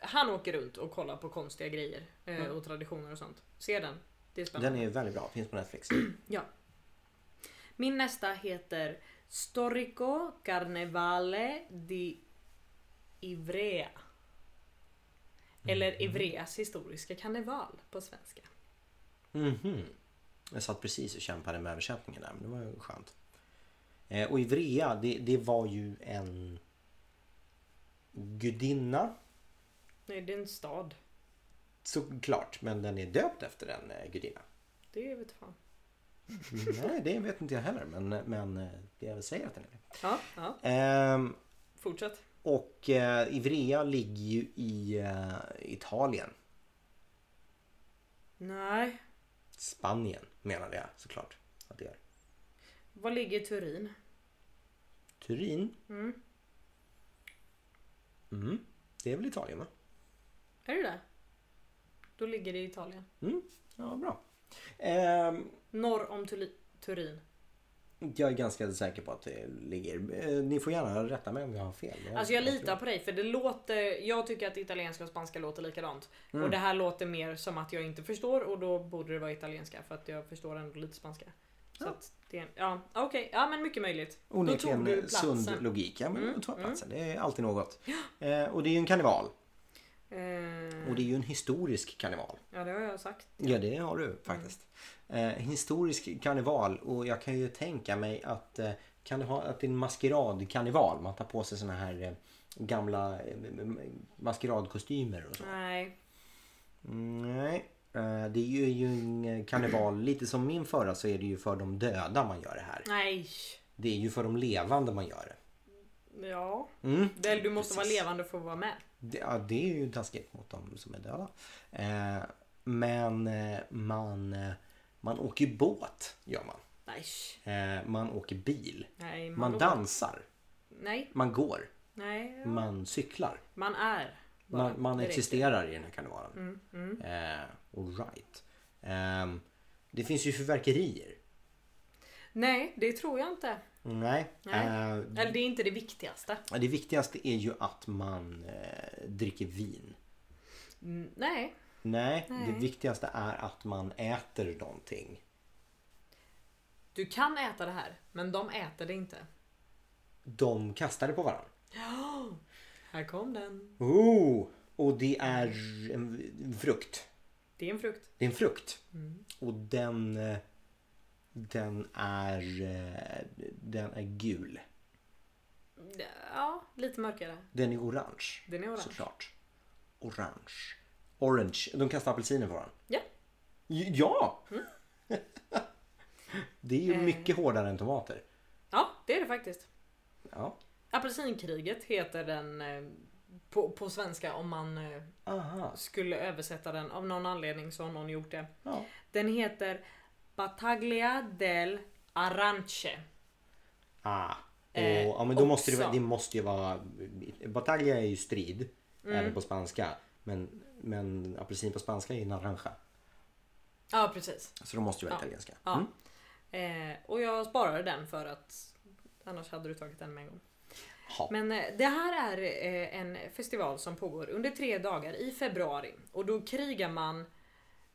[SPEAKER 1] Han åker runt och kollar på konstiga grejer eh, och traditioner och sånt. Se den. Det är spännande.
[SPEAKER 2] Mm. Den är väldigt bra, finns på Netflix.
[SPEAKER 1] Min nästa heter Storico Carnevale di Ivrea. Eller Ivreas historiska karneval på svenska.
[SPEAKER 2] Mhm. Jag satt precis och kämpade med översättningen där men det var ju skönt. Eh, och Ivrea det, det var ju en gudinna
[SPEAKER 1] Nej, det är en stad.
[SPEAKER 2] såklart men den är döpt efter en eh, gudinna.
[SPEAKER 1] Det vet fan.
[SPEAKER 2] Mm, Nej det vet inte jag heller men, men eh, det jag säger att den är det.
[SPEAKER 1] Ja, ja.
[SPEAKER 2] Ehm,
[SPEAKER 1] Fortsätt.
[SPEAKER 2] och eh, Ivrea ligger ju i eh, Italien.
[SPEAKER 1] Nej.
[SPEAKER 2] Spanien menade jag såklart att det är.
[SPEAKER 1] Var ligger Turin?
[SPEAKER 2] Turin.
[SPEAKER 1] Mm.
[SPEAKER 2] Mm. Det är väl Italien va?
[SPEAKER 1] Är det det? Då ligger det i Italien.
[SPEAKER 2] Mm. Ja, bra. Ehm,
[SPEAKER 1] Norr om Tuli- Turin.
[SPEAKER 2] jag är ganska säker på att det ligger... eh, ni får gärna rätta mig om jag har fel. men
[SPEAKER 1] Alltså jag litar på dig för det låter, jag tycker att italienska och spanska låter likadant.
[SPEAKER 2] Mm.
[SPEAKER 1] Och det här låter mer som att jag inte förstår och då borde det vara italienska för att jag förstår ändå lite spanska. Så
[SPEAKER 2] Ja.
[SPEAKER 1] att det är, ja okej, ja men mycket möjligt. Då tog du
[SPEAKER 2] Onekligen
[SPEAKER 1] platsen.
[SPEAKER 2] eh,
[SPEAKER 1] Mm,
[SPEAKER 2] sund logik. Ja, men då tar jag platsen. Det är alltid något. Eh, och det är ju en karneval.
[SPEAKER 1] Eh,
[SPEAKER 2] Och det är ju en historisk karneval.
[SPEAKER 1] ja det har jag sagt.
[SPEAKER 2] Ja, det har du faktiskt. Eh, historisk karneval och jag kan ju tänka mig att, eh, kan det ha, att det är en maskeradkarneval. Man tar på sig såna här eh, gamla eh, m- m- maskeradkostymer och så.
[SPEAKER 1] Nej.
[SPEAKER 2] Mm, nej, Eh, det är ju, ju en karneval. Lite som min förra så är det ju för de döda man gör det här.
[SPEAKER 1] Nej.
[SPEAKER 2] Det är ju för de levande man gör det.
[SPEAKER 1] Ja.
[SPEAKER 2] Mm.
[SPEAKER 1] Väl du måste vara
[SPEAKER 2] Precis.
[SPEAKER 1] levande för att vara med.
[SPEAKER 2] Det, ja, det är ju taskigt mot de som är döda. Eh, men eh, man, eh, man åker ju båt, gör man.
[SPEAKER 1] Nej.
[SPEAKER 2] Eh, man åker bil.
[SPEAKER 1] Nej. Man,
[SPEAKER 2] Man dansar.
[SPEAKER 1] Nej.
[SPEAKER 2] Man går.
[SPEAKER 1] Nej.
[SPEAKER 2] Man cyklar.
[SPEAKER 1] Man är. bara.
[SPEAKER 2] Mm.
[SPEAKER 1] Mm,
[SPEAKER 2] Man, man
[SPEAKER 1] Det räcker.
[SPEAKER 2] existerar i den här karnevalen. Eh, all right. Ehm, det finns ju fyrverkerier.
[SPEAKER 1] Nej det tror jag inte.
[SPEAKER 2] Mm. Nej.
[SPEAKER 1] Nej.
[SPEAKER 2] Eh,
[SPEAKER 1] Eller det är inte det viktigaste.
[SPEAKER 2] det viktigaste är ju att man eh, dricker vin.
[SPEAKER 1] Mm, Nej.
[SPEAKER 2] Nej, det
[SPEAKER 1] Nej.
[SPEAKER 2] viktigaste är att man äter någonting.
[SPEAKER 1] Du kan äta det här, men de äter det inte.
[SPEAKER 2] De kastar det på varandra.
[SPEAKER 1] Här kom den.
[SPEAKER 2] Oh, och det är en frukt.
[SPEAKER 1] Det är en frukt.
[SPEAKER 2] Det är en frukt.
[SPEAKER 1] Mm.
[SPEAKER 2] Och den, eh, den, är, eh, den är gul.
[SPEAKER 1] Ja, lite mörkare.
[SPEAKER 2] Den är orange.
[SPEAKER 1] Den är orange.
[SPEAKER 2] Såklart. Orange. Orange. De kastar apelsiner på varandra.
[SPEAKER 1] Ja, Mm.
[SPEAKER 2] J- Ja! det är
[SPEAKER 1] Eh.
[SPEAKER 2] ju mycket hårdare än tomater.
[SPEAKER 1] ja det är det faktiskt.
[SPEAKER 2] Ja.
[SPEAKER 1] Apelsinkriget heter den eh, på, på svenska om man eh,
[SPEAKER 2] Aha.
[SPEAKER 1] skulle översätta den. Av någon anledning så har någon gjort det.
[SPEAKER 2] Ja.
[SPEAKER 1] Den heter Bataglia del Arance.
[SPEAKER 2] Ah. Och,
[SPEAKER 1] Eh,
[SPEAKER 2] ja, men då måste det, vara-
[SPEAKER 1] också.
[SPEAKER 2] det måste ju vara... Bataglia är ju strid.
[SPEAKER 1] Mm.
[SPEAKER 2] Även på spanska. Men, men apelsin på spanska är ju naranja.
[SPEAKER 1] Ja, precis.
[SPEAKER 2] Så de måste ju vara
[SPEAKER 1] Ja.
[SPEAKER 2] italienska.
[SPEAKER 1] Ja. Eh, och jag sparade den för att annars hade du tagit den med en gång.
[SPEAKER 2] Ja.
[SPEAKER 1] Men eh, det här är eh, en festival som pågår under tre dagar i februari och då krigar man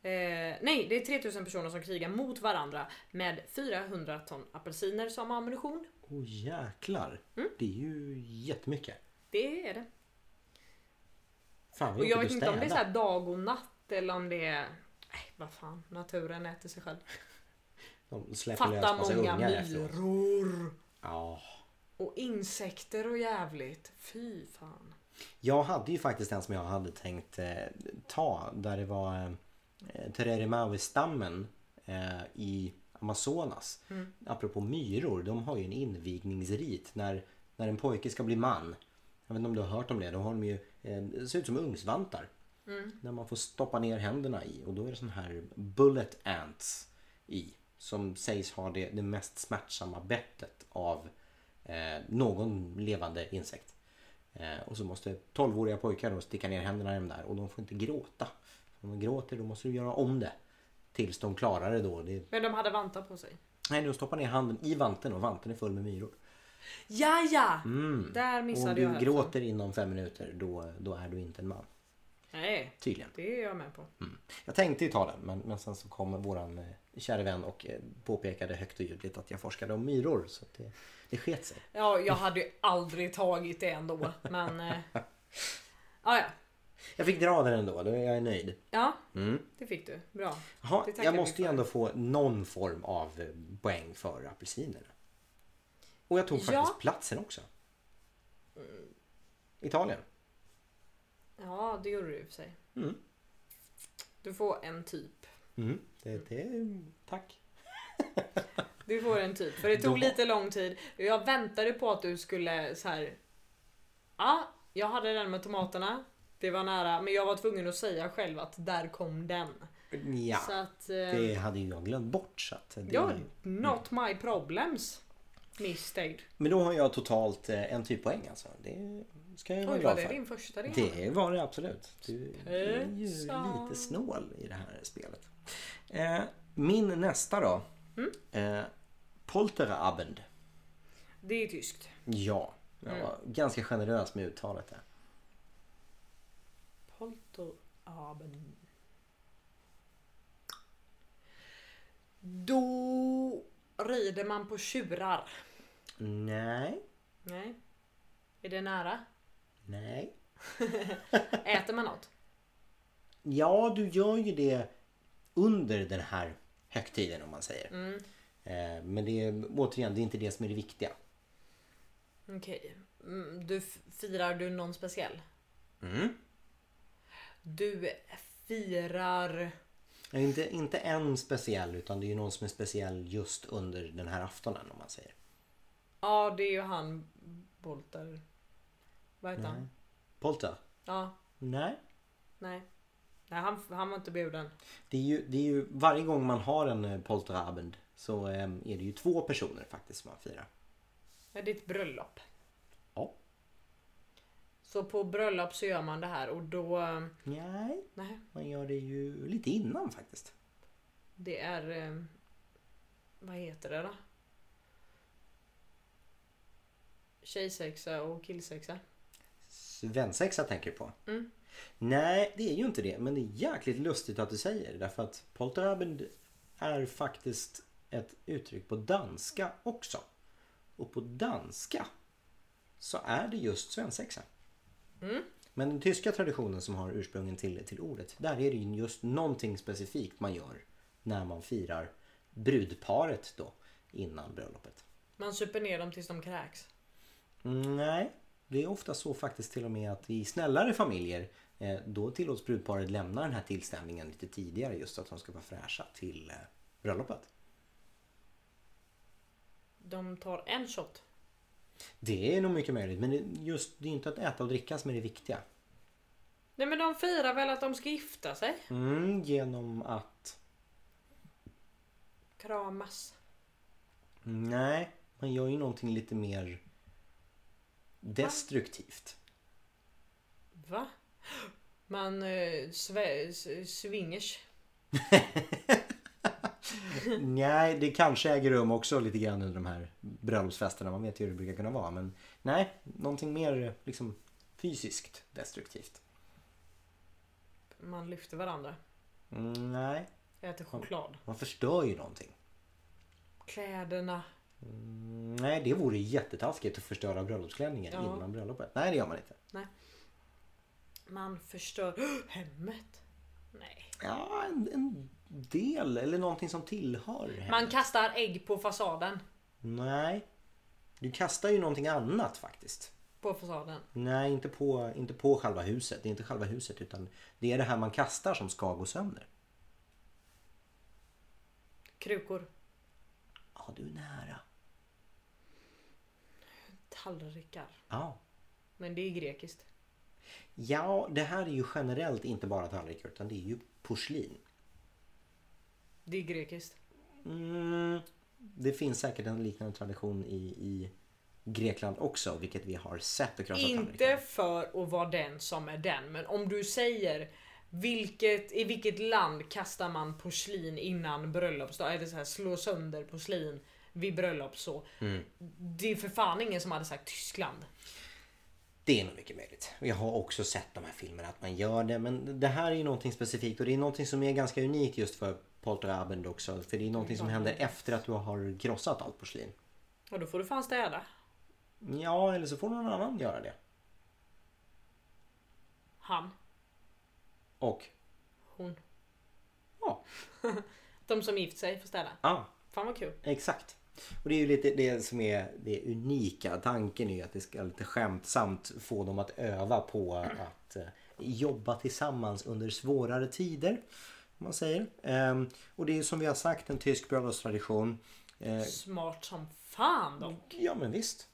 [SPEAKER 1] eh, Nej, det är 3000 personer som krigar mot varandra med 400 ton apelsiner som ammunition.
[SPEAKER 2] Åh
[SPEAKER 1] Mm.
[SPEAKER 2] jäklar. Det är ju jättemycket.
[SPEAKER 1] Det är det.
[SPEAKER 2] Fan
[SPEAKER 1] Och
[SPEAKER 2] vad
[SPEAKER 1] jag vet
[SPEAKER 2] jobbigt att
[SPEAKER 1] inte om det är så
[SPEAKER 2] städa.
[SPEAKER 1] här dag och natt eller om det är... Nej, vad fan. Naturen äter sig själv.
[SPEAKER 2] De släpper lös
[SPEAKER 1] Fatta
[SPEAKER 2] massa
[SPEAKER 1] många
[SPEAKER 2] ungar efteråt.
[SPEAKER 1] myror.
[SPEAKER 2] Ja.
[SPEAKER 1] Och insekter och jävligt. Fy fan.
[SPEAKER 2] Jag hade ju faktiskt en som jag hade tänkt eh, ta där det var eh, Tererimaui-stammen eh, i Amazonas.
[SPEAKER 1] Mm.
[SPEAKER 2] Apropå myror, de har ju en invigningsrit när, när en pojke ska bli man. Jag vet inte om du har hört om det, då har de ju, eh, det ser ut som ugnsvantar. När man får stoppa ner händerna i och då är det sån här bullet ants i. Som sägs ha det, det mest smärtsamma bettet av eh, någon levande insekt. Eh, och så måste 12-åriga pojkar då sticka ner händerna i de där och de får inte gråta. Om de gråter då måste du göra om det. Tills de klarar det då. Det,
[SPEAKER 1] Men de hade vantar på sig.
[SPEAKER 2] nej, du stoppar ner handen i vanten och vanten är full med myror.
[SPEAKER 1] Ja, ja! Där
[SPEAKER 2] Mm. Och om
[SPEAKER 1] missade jag
[SPEAKER 2] du
[SPEAKER 1] hälften.
[SPEAKER 2] gråter inom fem minuter då, då är du inte en man.
[SPEAKER 1] Nej,
[SPEAKER 2] Tydligen.
[SPEAKER 1] det är jag med på.
[SPEAKER 2] Mm. Jag tänkte ju ta den men, men sen så kom våran eh, kära vän och eh, påpekade högt och ljudligt att jag forskade om myror. Så att det, det sket sig.
[SPEAKER 1] Ja, jag hade ju aldrig tagit det ändå. Men... Eh... Ah, ja,
[SPEAKER 2] Jag fick dra den ändå, då är jag nöjd.
[SPEAKER 1] ja.
[SPEAKER 2] Mm.
[SPEAKER 1] Det fick du. Bra.
[SPEAKER 2] Jaha,
[SPEAKER 1] Det tackar
[SPEAKER 2] jag
[SPEAKER 1] vi
[SPEAKER 2] måste ju
[SPEAKER 1] för.
[SPEAKER 2] ändå få någon form av eh, poäng för apelsinerna. Och jag tog
[SPEAKER 1] Ja. Mm.
[SPEAKER 2] faktiskt platsen också. Italien.
[SPEAKER 1] Ja, det gjorde du i och för sig.
[SPEAKER 2] Mm.
[SPEAKER 1] Du får en typ.
[SPEAKER 2] Mm. Det, det, tack.
[SPEAKER 1] Du får en typ. För det tog
[SPEAKER 2] Då-
[SPEAKER 1] lite lång tid. Jag väntade på att du skulle så här. Ja, jag hade den med tomaterna. Det var nära. Men jag var tvungen att säga själv att där kom den.
[SPEAKER 2] Ja,
[SPEAKER 1] Så att... Eh...
[SPEAKER 2] det hade ju jag glömt bort. Så att det,
[SPEAKER 1] Ja, not my problems. Misstänkt.
[SPEAKER 2] Men då har jag totalt eh, en typ poäng alltså. Det ska jag vara
[SPEAKER 1] Oj, var
[SPEAKER 2] glad
[SPEAKER 1] det
[SPEAKER 2] för.
[SPEAKER 1] din första ring?
[SPEAKER 2] Det var det absolut. Du är ju
[SPEAKER 1] Spetsa.
[SPEAKER 2] lite snål i det här spelet. Eh, min nästa då. Eh, Polterabend.
[SPEAKER 1] Det är tyskt.
[SPEAKER 2] Ja, jag var ganska generös med uttalet där.
[SPEAKER 1] Polterabend. Då rider man på tjurar.
[SPEAKER 2] Nej,
[SPEAKER 1] Nej. Är det nära?
[SPEAKER 2] nej.
[SPEAKER 1] Äter man något?
[SPEAKER 2] Ja, du gör ju det under den här högtiden om man säger. Eh, men det är, återigen, det är inte det som är det viktiga.
[SPEAKER 1] Okej. Mm, Du f- firar du någon speciell?
[SPEAKER 2] Mm.
[SPEAKER 1] Du firar...
[SPEAKER 2] Ja, Eh, Inte, inte en speciell utan det är ju någon som är speciell just under den här aftonen om man säger.
[SPEAKER 1] Ja, det är ju han Bolter. Vad heter han?
[SPEAKER 2] Polter?
[SPEAKER 1] Ja,
[SPEAKER 2] Nej.
[SPEAKER 1] nej. Nej, han, han var inte bjuden.
[SPEAKER 2] Det är, ju, det är ju varje gång man har en eh, Polterabend så eh, är det ju två personer faktiskt som man firar.
[SPEAKER 1] Men det är ett bröllop.
[SPEAKER 2] Ja.
[SPEAKER 1] Så på bröllop så gör man det här och då... eh,
[SPEAKER 2] Nej,
[SPEAKER 1] Nej,
[SPEAKER 2] man gör det ju lite innan faktiskt.
[SPEAKER 1] det är... eh, Vad heter det då? Tjejsexa och killsexa.
[SPEAKER 2] Svensexa tänker du på?
[SPEAKER 1] Mm.
[SPEAKER 2] Nej, det är ju inte det. Men det är jäkligt lustigt att du säger det. Därför att Polterabend är faktiskt ett uttryck på danska också. Och på danska så är det just svensexa. Men den tyska traditionen som har ursprungen till, till ordet, där är det ju just någonting specifikt man gör när man firar brudparet då innan bröllopet.
[SPEAKER 1] Man super ner dem tills de kräks.
[SPEAKER 2] Mm, Nej, det är ofta så faktiskt till och med att i snällare familjer eh, då tillåts brudparet lämna den här tillställningen lite tidigare just så att de ska vara fräscha till eh, bröllopet.
[SPEAKER 1] De tar en shot.
[SPEAKER 2] Det är nog mycket möjligt men det- just det är inte att äta och dricka som är det viktiga.
[SPEAKER 1] Nej men de firar väl att de ska gifta sig?
[SPEAKER 2] Mm, genom att...
[SPEAKER 1] Kramas.
[SPEAKER 2] mm, Nej, man gör ju någonting lite mer destruktivt.
[SPEAKER 1] Va? Man eh, sve, s- swingers.
[SPEAKER 2] Nej, det kanske äger rum också lite grann under de här bröllopsfesterna. Man vet ju hur det brukar kunna vara. Men nej, någonting mer eh, liksom fysiskt destruktivt.
[SPEAKER 1] Man lyfter varandra.
[SPEAKER 2] Mm, nej,
[SPEAKER 1] Äter choklad.
[SPEAKER 2] man förstör ju någonting.
[SPEAKER 1] Kläderna.
[SPEAKER 2] Mm, nej, det vore jättetaskigt att förstöra bröllopsklänningen
[SPEAKER 1] Ja.
[SPEAKER 2] innan bröllopet. Nej, det gör man inte.
[SPEAKER 1] Nej. Man förstör hemmet. Nej.
[SPEAKER 2] Ja, en, en del eller någonting som tillhör hemmet.
[SPEAKER 1] Man kastar ägg på fasaden.
[SPEAKER 2] Nej. Du kastar ju någonting annat faktiskt.
[SPEAKER 1] På fasaden.
[SPEAKER 2] Nej, inte på, inte på själva huset. Det är inte själva huset utan det är det här man kastar som ska gå sönder.
[SPEAKER 1] Krukor.
[SPEAKER 2] Ja, du är nära.
[SPEAKER 1] Tallrikar.
[SPEAKER 2] Ja.
[SPEAKER 1] Men det är grekiskt.
[SPEAKER 2] ja, det här är ju generellt inte bara tallrikar utan det är ju porslin.
[SPEAKER 1] Det är grekiskt.
[SPEAKER 2] Mm, det finns säkert en liknande tradition i, i Grekland också, vilket vi har sett och krossat
[SPEAKER 1] Inte
[SPEAKER 2] tallrikar.
[SPEAKER 1] för att vara den som är den, men om du säger vilket, i vilket land kastar man porslin innan bröllopsdag? Eller så här, slå sönder porslin vid bröllop så.
[SPEAKER 2] Mm.
[SPEAKER 1] Det är för fan ingen som hade sagt Tyskland.
[SPEAKER 2] Det är nog mycket möjligt. Jag har också sett de här filmerna att man gör det, men det här är ju någonting specifikt och det är någonting som är ganska unikt just för Polterabend också, för det är någonting som händer efter att du har krossat allt porslin.
[SPEAKER 1] Och då får du fan städa.
[SPEAKER 2] Ja, eller så får någon annan göra det.
[SPEAKER 1] Han,
[SPEAKER 2] Och,
[SPEAKER 1] hon.
[SPEAKER 2] ja,
[SPEAKER 1] De som gift sig får städa.
[SPEAKER 2] ah,
[SPEAKER 1] Fan vad kul.
[SPEAKER 2] Exakt. Och det är ju lite det som är det unika. Tanken är ju att det ska lite skämtsamt få dem att öva på att eh, jobba tillsammans under svårare tider. Om man säger. Ehm, Och det är ju som vi har sagt en tysk bröllopstradition. Eh,
[SPEAKER 1] Smart som fan de.
[SPEAKER 2] Ja men visst.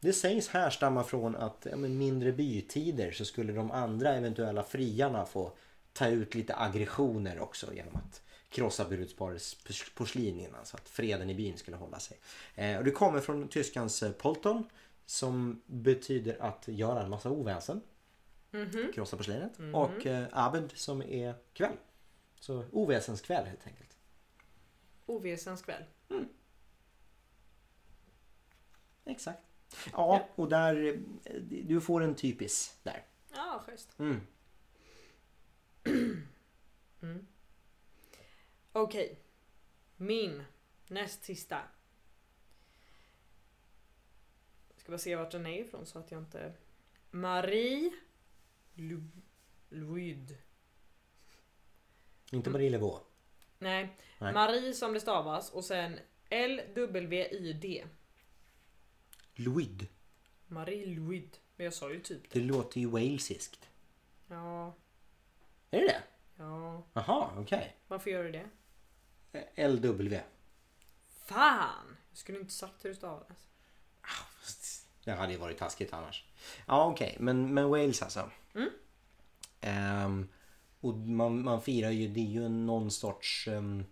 [SPEAKER 2] Det sägs härstamma från att ja, men mindre bytider så skulle de andra eventuella friarna få ta ut lite aggressioner också genom att krossa brudsparets pors- porslin innan så att freden i byn skulle hålla sig. Eh, och det kommer från tyskans eh, Polton som betyder att göra en massa oväsen. Mm.
[SPEAKER 1] Mhm.
[SPEAKER 2] Krossa porslinet. Och eh, Abend som är kväll. Så oväsenskväll helt enkelt.
[SPEAKER 1] Oväsens kväll.
[SPEAKER 2] Exakt. Ja, och där... eh, Du får en typisk där.
[SPEAKER 1] Ja, schysst.
[SPEAKER 2] Mm.
[SPEAKER 1] Okej. Min näst sista. Jag ska bara se vart den är ifrån så att jag inte... Marie Lu... Luid.
[SPEAKER 2] Inte Marie Levaux.
[SPEAKER 1] Nej.
[SPEAKER 2] Nej.
[SPEAKER 1] Marie som det stavas och sen L-W-I-D.
[SPEAKER 2] Luid.
[SPEAKER 1] Marie Luid. Men jag sa ju typ det.
[SPEAKER 2] Det låter ju walesiskt.
[SPEAKER 1] Ja,
[SPEAKER 2] Är det det?
[SPEAKER 1] ja.
[SPEAKER 2] Jaha, okej.
[SPEAKER 1] Varför gör du det?
[SPEAKER 2] Eh, LW.
[SPEAKER 1] Fan! Jag skulle inte sagt hur det stavas.
[SPEAKER 2] Fast Det hade ju varit taskigt annars. Ja, okej. Men, men Wales alltså. Ehm, och man, man firar ju, det är ju någon sorts... ehm,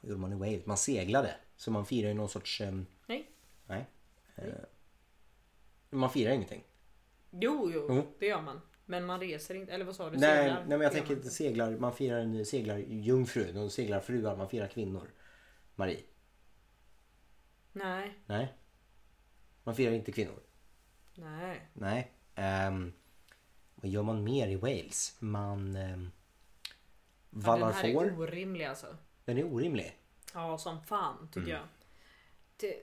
[SPEAKER 2] vad gjorde man i Wales? Man seglade. Så man firar ju någon sorts... ehm,
[SPEAKER 1] Nej.
[SPEAKER 2] nej. Eh, man firar ingenting.
[SPEAKER 1] Jo, jo,
[SPEAKER 2] Jo.
[SPEAKER 1] det gör man. Men man reser inte. Eller vad sa du?
[SPEAKER 2] Nej,
[SPEAKER 1] Seglar?
[SPEAKER 2] nej men jag
[SPEAKER 1] Det gör
[SPEAKER 2] tänker
[SPEAKER 1] man inte.
[SPEAKER 2] seglar, man firar en seglarjungfru, de seglar fruar, man firar kvinnor. Marie.
[SPEAKER 1] Nej,
[SPEAKER 2] Nej. Man firar inte kvinnor.
[SPEAKER 1] nej.
[SPEAKER 2] Nej. Ehm, vad gör man mer i Wales? Man ehm, vallar
[SPEAKER 1] den här
[SPEAKER 2] får.
[SPEAKER 1] är orimlig alltså.
[SPEAKER 2] Den är orimlig.
[SPEAKER 1] Ja, som fan
[SPEAKER 2] Mm.
[SPEAKER 1] tycker jag. Det,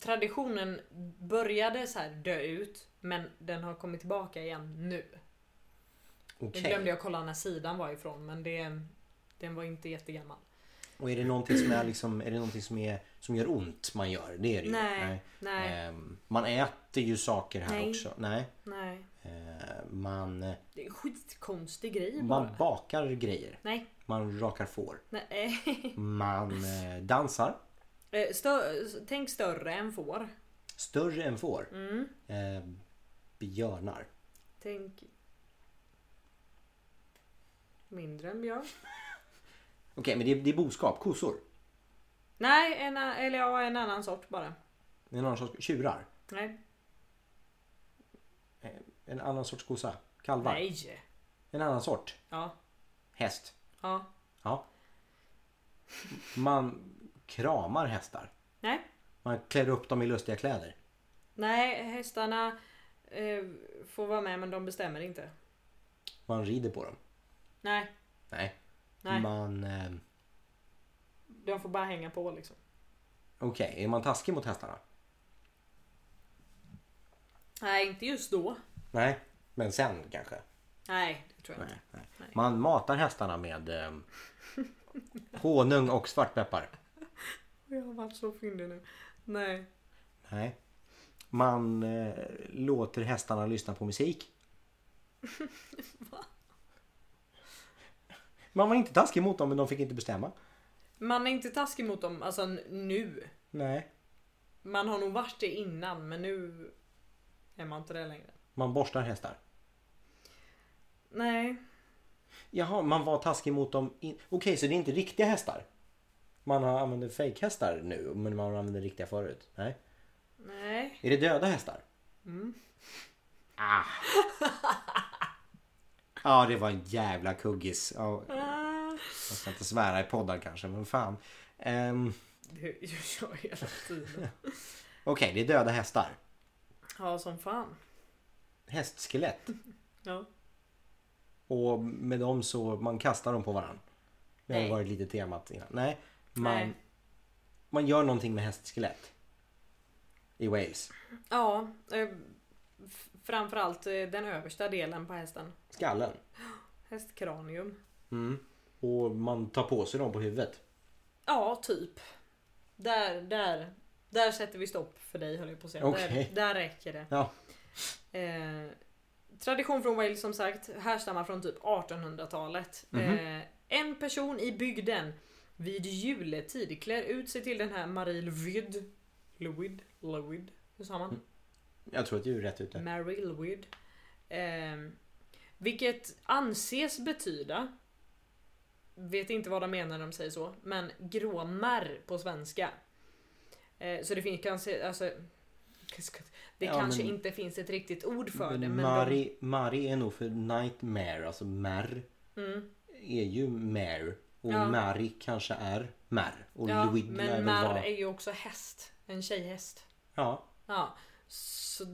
[SPEAKER 1] traditionen började så här dö ut, men den har kommit tillbaka igen nu. Nu
[SPEAKER 2] Okej.
[SPEAKER 1] glömde jag kolla när sidan var ifrån, men det, den var inte jättegammal.
[SPEAKER 2] Och är det någonting som är liksom, är det någonting som, är, som gör ont man gör? Det är det ju.
[SPEAKER 1] Nej, nej.
[SPEAKER 2] Ehm, man äter ju saker här
[SPEAKER 1] Nej.
[SPEAKER 2] också. Nej.
[SPEAKER 1] Nej,
[SPEAKER 2] Ehm, man,
[SPEAKER 1] det är en skitkonstig grej
[SPEAKER 2] man
[SPEAKER 1] bara.
[SPEAKER 2] bakar grejer.
[SPEAKER 1] Nej,
[SPEAKER 2] Man rakar får.
[SPEAKER 1] nej.
[SPEAKER 2] Man eh, dansar.
[SPEAKER 1] Eh, Stö, tänk större än Mm. får.
[SPEAKER 2] Större än får. Eh, björnar.
[SPEAKER 1] Tänk mindre än björn.
[SPEAKER 2] Okej, men det är, det är boskap. Kossor.
[SPEAKER 1] Nej, en, a- eller ja, en annan sort bara.
[SPEAKER 2] Det är En annan sorts tjurar.
[SPEAKER 1] Nej.
[SPEAKER 2] Eh, En annan sorts kossa. Kalvar.
[SPEAKER 1] Nej.
[SPEAKER 2] En annan sort.
[SPEAKER 1] Ja,
[SPEAKER 2] Häst.
[SPEAKER 1] ja.
[SPEAKER 2] Ja. Man kramar hästar.
[SPEAKER 1] Nej.
[SPEAKER 2] Man klär upp dem i lustiga kläder.
[SPEAKER 1] Nej, hästarna eh, får vara med men de bestämmer inte.
[SPEAKER 2] Man rider på dem.
[SPEAKER 1] Nej,
[SPEAKER 2] Nej.
[SPEAKER 1] Nej.
[SPEAKER 2] Man... Eh,
[SPEAKER 1] de får bara hänga på liksom.
[SPEAKER 2] Okej, är man taskig mot hästarna?
[SPEAKER 1] Nej, inte just då.
[SPEAKER 2] Nej. Men sen kanske?
[SPEAKER 1] Nej, det tror jag inte.
[SPEAKER 2] Nej, nej. Man matar hästarna med eh, honung och svartpeppar.
[SPEAKER 1] Jag har varit så fyndig nu. Nej.
[SPEAKER 2] Nej. Man eh, låter hästarna lyssna på musik. Man var inte taskig mot dem men de fick inte bestämma.
[SPEAKER 1] Man är inte taskig mot dem, alltså n- nu.
[SPEAKER 2] Nej.
[SPEAKER 1] Man har nog varit det innan men nu är man inte det längre.
[SPEAKER 2] Man borstar hästar.
[SPEAKER 1] Nej.
[SPEAKER 2] Jaha, man var taskig mot dem. In... Okej, så det är inte riktiga hästar? Man har- använder fejkhästar nu men man använder riktiga förut? Nej.
[SPEAKER 1] Nej.
[SPEAKER 2] Är det döda hästar? Ah. Ja, det var en jävla kuggis. Ja,
[SPEAKER 1] Ah.
[SPEAKER 2] jag ska inte svära i poddar kanske, men fan. Um,
[SPEAKER 1] Det gör jag hela tiden.
[SPEAKER 2] Okej, det är döda hästar.
[SPEAKER 1] Ja, som fan.
[SPEAKER 2] Hästskelett.
[SPEAKER 1] Ja.
[SPEAKER 2] Och med dem så, man kastar dem på varandra. Det har
[SPEAKER 1] Nej.
[SPEAKER 2] varit lite temat innan. Nej, man,
[SPEAKER 1] Nej.
[SPEAKER 2] man gör någonting med hästskelett. I Wales.
[SPEAKER 1] Ja, eh, f- framförallt eh, den översta delen på hästen.
[SPEAKER 2] Skallen.
[SPEAKER 1] Hästkranium.
[SPEAKER 2] Mm. Och man tar på sig dem på huvudet.
[SPEAKER 1] Ja, typ. Där, där, där sätter vi stopp för dig höll jag på att säga.
[SPEAKER 2] Okej.
[SPEAKER 1] Där, där räcker det.
[SPEAKER 2] Ja.
[SPEAKER 1] Eh, tradition från Wales som sagt härstammar från typ 1800-talet. Eh, en person i bygden vid juletid klär ut sig till den här Marie Louid. Louid? Louid? Hur sa man?
[SPEAKER 2] Jag tror att du är rätt ute.
[SPEAKER 1] Mary Lloyd. Ehm, vilket anses betyda Vet inte vad de menar när de säger så, men gråmärr på svenska. Eh, så det finns kanske, alltså Det
[SPEAKER 2] Ja,
[SPEAKER 1] kanske
[SPEAKER 2] men-
[SPEAKER 1] inte finns ett riktigt ord för det, men de,
[SPEAKER 2] Mari, Mari är nog för nightmare, alltså mär. Är ju mare. Och
[SPEAKER 1] Mm. Ja.
[SPEAKER 2] Mari kanske är mär. Och
[SPEAKER 1] ja,
[SPEAKER 2] Louis lär väl
[SPEAKER 1] men märr
[SPEAKER 2] vara-
[SPEAKER 1] är ju också häst. En tjejhäst.
[SPEAKER 2] Ja,
[SPEAKER 1] Ja, så,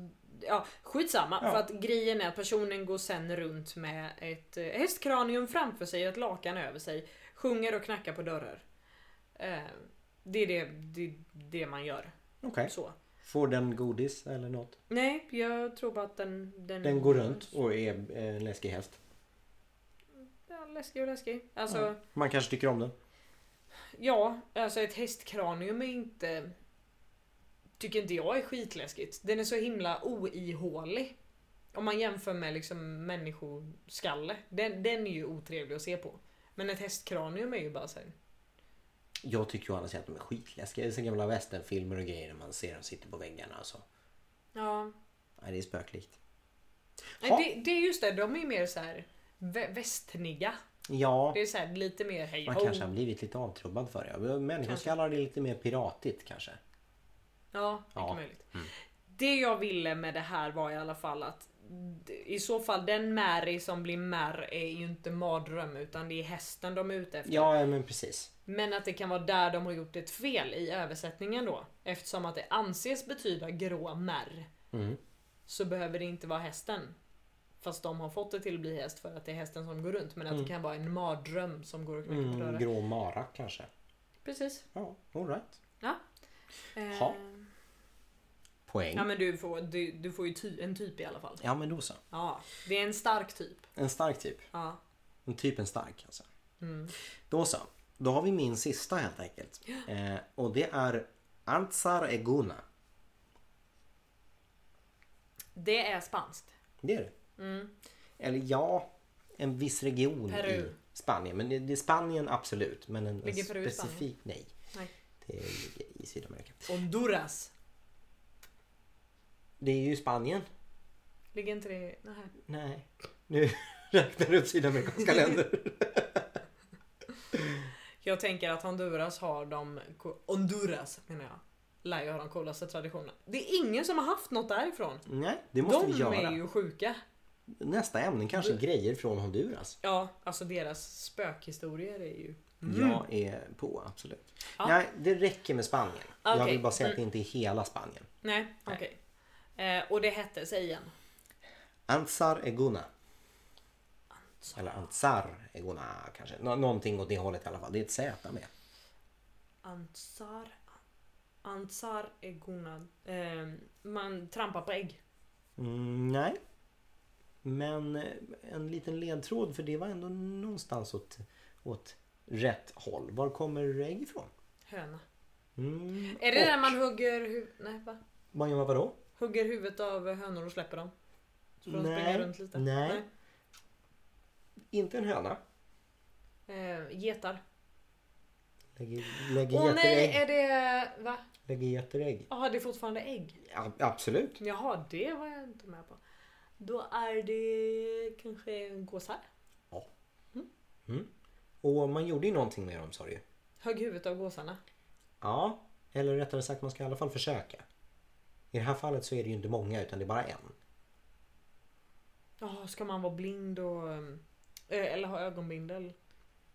[SPEAKER 1] ja skitsamma.
[SPEAKER 2] Ja.
[SPEAKER 1] För att grejen är att personen går sen runt med ett eh, hästkranium framför sig och ett lakan över sig. Sjunger och knackar på dörrar. Eh, det är det, det, det man gör.
[SPEAKER 2] okej.
[SPEAKER 1] Så.
[SPEAKER 2] Får den godis eller något?
[SPEAKER 1] Nej, jag tror bara att den... Den,
[SPEAKER 2] Den går runt och är eh, en läskig häst.
[SPEAKER 1] Ja, läskig och läskig. Alltså,
[SPEAKER 2] Ja. Man kanske tycker om den.
[SPEAKER 1] ja. alltså ett hästkranium är inte... Tycker inte jag är skitläskigt. Den är så himla oihålig. Om man jämför med liksom människoskalle. Den, den är ju otrevlig att se på. Men ett hästkranium är ju bara såhär.
[SPEAKER 2] Jag tycker ju annars att de är skitläskiga. Det är så gamla västernfilmer och grejer när man ser dem sitta på väggarna och så.
[SPEAKER 1] Ja.
[SPEAKER 2] Nej, det är spöklikt.
[SPEAKER 1] Nej,
[SPEAKER 2] Ja.
[SPEAKER 1] Det, det är just det, de är ju mer såhär vä- västniga.
[SPEAKER 2] Ja,
[SPEAKER 1] Det är såhär lite mer hej
[SPEAKER 2] man
[SPEAKER 1] ho.
[SPEAKER 2] kanske har blivit lite avtrubbad för det. Människoskallar är lite mer piratigt kanske.
[SPEAKER 1] Ja, mycket
[SPEAKER 2] Ja. Mm.
[SPEAKER 1] möjligt. Det jag ville med det här var i alla fall att d- i så fall den Mary som blir mär är ju inte mardröm utan det är hästen de är ute efter.
[SPEAKER 2] Ja, men precis.
[SPEAKER 1] Men att det kan vara där de har gjort ett fel i översättningen då. Eftersom att det anses betyda grå märr.
[SPEAKER 2] Mm.
[SPEAKER 1] Så behöver det inte vara hästen. Fast de har fått det till att bli häst för att det är hästen som går runt. Men att det kan vara en mardröm som går och knackar på
[SPEAKER 2] Mm,
[SPEAKER 1] dörren.
[SPEAKER 2] grå mara kanske.
[SPEAKER 1] Precis.
[SPEAKER 2] Ja, alright.
[SPEAKER 1] Ja. Eh,
[SPEAKER 2] Ha. Poäng.
[SPEAKER 1] Ja men du får, du, du får ju ty, en typ i alla fall.
[SPEAKER 2] Ja men då så.
[SPEAKER 1] Ja, det är en stark typ.
[SPEAKER 2] En stark typ.
[SPEAKER 1] Ja.
[SPEAKER 2] En typ en stark alltså.
[SPEAKER 1] Mm.
[SPEAKER 2] Då så. Då har vi min sista helt enkelt. Eh, och det är Antsar Eguna.
[SPEAKER 1] Det är spanskt.
[SPEAKER 2] Det är det. Eller ja, en viss region
[SPEAKER 1] Mm.
[SPEAKER 2] i
[SPEAKER 1] Peru.
[SPEAKER 2] Spanien. Men det, det är Spanien absolut. Men en, en
[SPEAKER 1] Ligger Peru i
[SPEAKER 2] specifik, nej.
[SPEAKER 1] Nej.
[SPEAKER 2] Det ligger i Sydamerika.
[SPEAKER 1] Honduras.
[SPEAKER 2] Det är ju Spanien.
[SPEAKER 1] Ligger inte det... Nej.
[SPEAKER 2] Nej. Nu räknar du upp sydamerikanska länder.
[SPEAKER 1] Jag tänker att Honduras har de... co- Honduras menar jag. Lär ju ha de coolaste traditionerna. Det är ingen som har haft något därifrån.
[SPEAKER 2] Nej, det måste
[SPEAKER 1] de
[SPEAKER 2] vi göra.
[SPEAKER 1] är ju Mm. sjuka.
[SPEAKER 2] Nästa ämne kanske grejer från Honduras.
[SPEAKER 1] Ja, alltså deras spökhistorier är ju...
[SPEAKER 2] Jag är på, absolut.
[SPEAKER 1] Mm. Ja.
[SPEAKER 2] Nej, det räcker med Spanien. Jag
[SPEAKER 1] Okej. Mm.
[SPEAKER 2] vill bara säga att det inte är hela Spanien.
[SPEAKER 1] Nej, okej. Eh, och det hette, säg igen.
[SPEAKER 2] Anzar Eguna. Eller Anzar Eguna kanske. Nå- någonting åt det hållet i alla fall. Det är ett Z med.
[SPEAKER 1] Ansar... Ansar är Ehm, gonad. Eh, man trampar på ägg.
[SPEAKER 2] Mm, nej. Men en liten ledtråd för det var ändå någonstans åt, åt rätt håll. Var kommer ägg ifrån?
[SPEAKER 1] Höna.
[SPEAKER 2] Mm.
[SPEAKER 1] Är det
[SPEAKER 2] och-
[SPEAKER 1] där man hugger, hu- nej, va?
[SPEAKER 2] Man gör vadå?
[SPEAKER 1] hugger huvudet av hönor och släpper dem? Så får de
[SPEAKER 2] Nej,
[SPEAKER 1] springa runt lite?
[SPEAKER 2] nej. Inte en höna.
[SPEAKER 1] Eh, getar.
[SPEAKER 2] Lägger, lägger
[SPEAKER 1] Åh nej,
[SPEAKER 2] jätteägg.
[SPEAKER 1] är det... Va?
[SPEAKER 2] Lägger jätteägg.
[SPEAKER 1] Jaha, det är fortfarande ägg?
[SPEAKER 2] Ja, absolut.
[SPEAKER 1] Jaha, det var jag inte med på. Då är det kanske gåsar?
[SPEAKER 2] Och man gjorde ju någonting med dem sa du ju.
[SPEAKER 1] Högg huvudet av gåsarna.
[SPEAKER 2] Ja, eller rättare sagt man ska i alla fall försöka. I det här fallet så är det ju inte många utan det är bara en.
[SPEAKER 1] Jaha, ska man vara blind och... eh, Eller ha ögonbindel?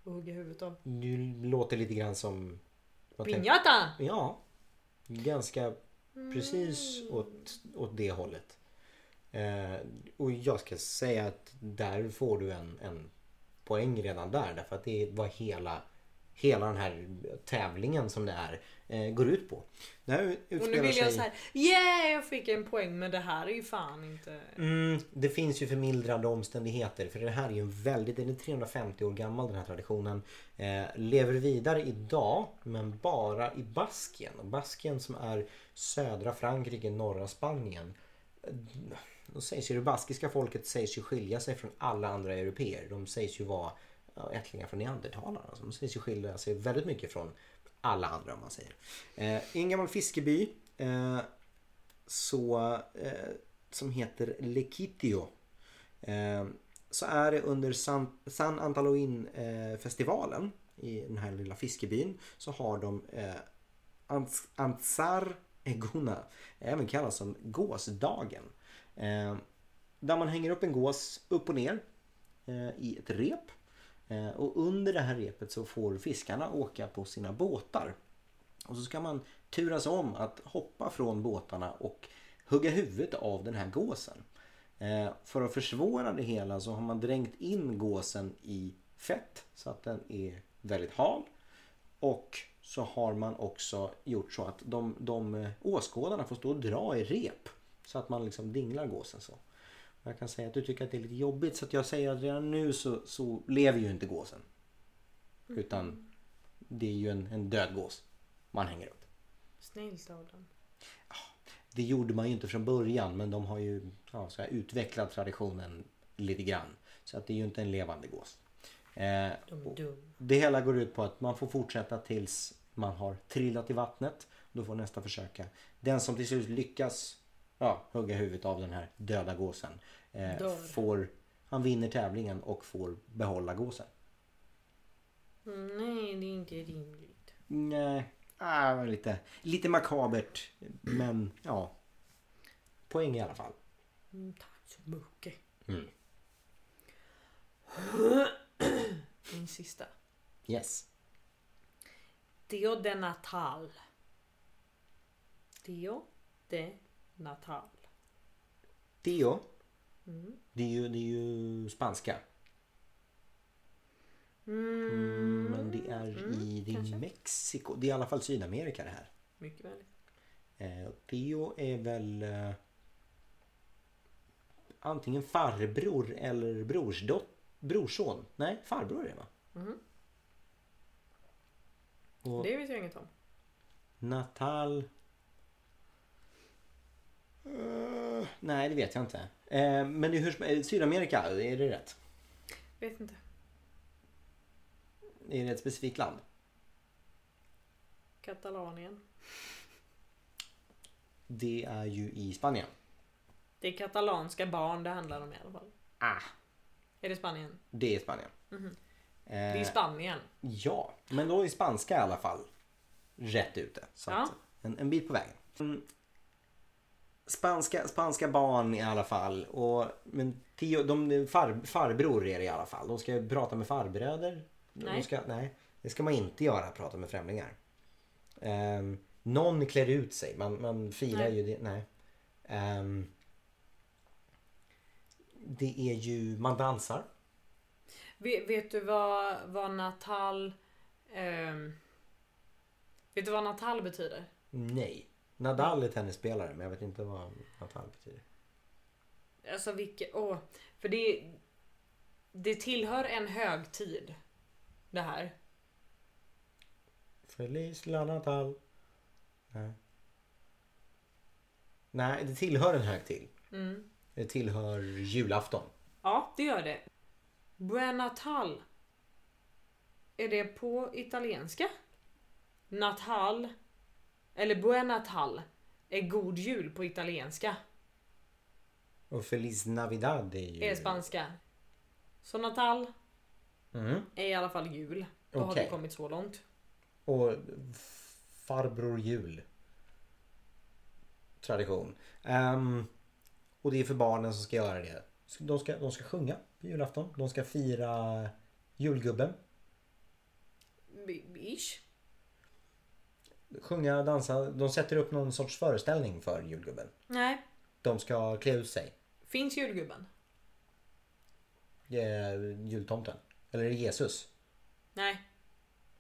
[SPEAKER 1] Och hugga huvudet av?
[SPEAKER 2] Du låter lite grann som... vad tänk-
[SPEAKER 1] Pinjata!
[SPEAKER 2] Ja. Ganska
[SPEAKER 1] Mm.
[SPEAKER 2] precis åt, åt det hållet. Eh, och jag ska säga att där får du en, en poäng redan där. Därför att det var hela, hela den här tävlingen som det är eh, går ut på. Det här
[SPEAKER 1] Och nu
[SPEAKER 2] utspelar
[SPEAKER 1] vill jag
[SPEAKER 2] sig-
[SPEAKER 1] såhär, yeah jag fick en poäng men det här är ju fan inte...
[SPEAKER 2] Mm, det finns ju förmildrande omständigheter för det här är ju en väldigt, den är 350 år gammal den här traditionen. Eh, lever vidare idag men bara i Baskien. Och Baskien som är södra Frankrike, norra Spanien. Eh, Då sägs ju det baskiska folket sägs ju skilja sig från alla andra europeer. De sägs ju vara ja, ättlingar från neandertalarna. Alltså, de sägs ju skilja sig väldigt mycket från alla andra om man säger. Eh, I en gammal fiskeby eh, så, eh, som heter Lekitio. Eh, så är det under San, San Antaloin-festivalen i den här lilla fiskebyn så har de eh, Ans- Ansar Egona, även kallas som gåsdagen. Eh, där man hänger upp en gås upp och ner eh, i ett rep. Eh, och under det här repet så får fiskarna åka på sina båtar. Och så ska man turas om att hoppa från båtarna och hugga huvudet av den här gåsen. Eh, för att försvåra det hela så har man dränkt in gåsen i fett så att den är väldigt hal. Och så har man också gjort så att de, de eh, åskådarna får stå och dra i rep. Så att man liksom dinglar gåsen så. Jag kan säga att du tycker att det är lite jobbigt så att jag säger att redan nu så, så lever ju inte gåsen. Utan det är ju en, en död gås man hänger upp.
[SPEAKER 1] Snällt av dem.
[SPEAKER 2] Det gjorde man ju inte från början men de har ju ja, så här, utvecklat traditionen lite grann. Så att det är ju inte en levande gås. Eh,
[SPEAKER 1] De är
[SPEAKER 2] och
[SPEAKER 1] dum.
[SPEAKER 2] det hela går ut på att man får fortsätta tills man har trillat i vattnet. Då får nästa försöka. Den som till slut lyckas ja, hugga huvudet av den här döda gåsen eh,
[SPEAKER 1] Dör.
[SPEAKER 2] får, han vinner tävlingen och får behålla gåsen.
[SPEAKER 1] Mm, Nej, det är inte rimligt.
[SPEAKER 2] Nej, ah, var lite, lite makabert. Men ja, poäng i alla fall.
[SPEAKER 1] Mm, tack så mycket.
[SPEAKER 2] Mm.
[SPEAKER 1] Min sista.
[SPEAKER 2] Yes.
[SPEAKER 1] Deo de natal. Deo de natal.
[SPEAKER 2] Dio.
[SPEAKER 1] Mm.
[SPEAKER 2] Det är ju, det är ju spanska.
[SPEAKER 1] Mm.
[SPEAKER 2] Men det är i det är
[SPEAKER 1] kanske.
[SPEAKER 2] Mexiko. Det är i alla fall Sydamerika det här.
[SPEAKER 1] Mycket väl.
[SPEAKER 2] Eh, Dio är väl eh, antingen farbror eller brorsdot, brorson. Nej, farbror är det va?
[SPEAKER 1] Mhm.
[SPEAKER 2] Och
[SPEAKER 1] Det vet jag inget om.
[SPEAKER 2] Natal... Eh, nej, det vet jag inte. Eh, men det är hur som, eh, Sydamerika, är det rätt?
[SPEAKER 1] Vet inte.
[SPEAKER 2] Är det ett specifikt land?
[SPEAKER 1] Katalanien.
[SPEAKER 2] Det är ju i Spanien.
[SPEAKER 1] Det är katalanska barn det handlar om i alla fall.
[SPEAKER 2] Ah.
[SPEAKER 1] Är det Spanien?
[SPEAKER 2] Det är Spanien.
[SPEAKER 1] Det är
[SPEAKER 2] Eh,
[SPEAKER 1] Spanien.
[SPEAKER 2] ja, men då är spanska i alla fall rätt ute. Så
[SPEAKER 1] Ja.
[SPEAKER 2] att, en, en bit på vägen. Mm. Spanska, spanska barn i alla fall. Och, men tio, de, de far, farbror är det i alla fall. De ska ju prata med farbröder. De
[SPEAKER 1] Nej.
[SPEAKER 2] ska, nej. Det ska man inte göra, prata med främlingar. Ehm, någon klär ut sig. Man, man firar
[SPEAKER 1] Nej.
[SPEAKER 2] ju det. Nej. Ehm, det är ju, man dansar.
[SPEAKER 1] Vet, vet du vad, vad Natal... ehm, vet du vad Natal betyder?
[SPEAKER 2] Nej. Nadal är tennisspelare men jag vet inte vad Nadal betyder.
[SPEAKER 1] Alltså vilket... Åh. För det, det tillhör en högtid. Det här.
[SPEAKER 2] Feliz la Natal. Nej. Nej, det tillhör en högtid. Det tillhör julafton.
[SPEAKER 1] Ja, det gör det. Buon Natal. Är det på italienska? Natal. Eller Buon Natal. Är god jul på italienska.
[SPEAKER 2] Och Feliz Navidad är ju...
[SPEAKER 1] Är spanska. Så Natal
[SPEAKER 2] Mm.
[SPEAKER 1] är i alla fall jul. Då har
[SPEAKER 2] Okej.
[SPEAKER 1] vi kommit så långt.
[SPEAKER 2] Och farbror jul. Tradition. Ehm, och det är för barnen som ska göra det. De ska, de ska sjunga på julafton. De ska fira julgubben.
[SPEAKER 1] B- Ish.
[SPEAKER 2] Sjunga, dansa. De sätter upp någon sorts föreställning för julgubben.
[SPEAKER 1] Nej.
[SPEAKER 2] De ska klä ut sig.
[SPEAKER 1] Finns julgubben?
[SPEAKER 2] Eh, jultomten. Eller är det Jesus?
[SPEAKER 1] Nej.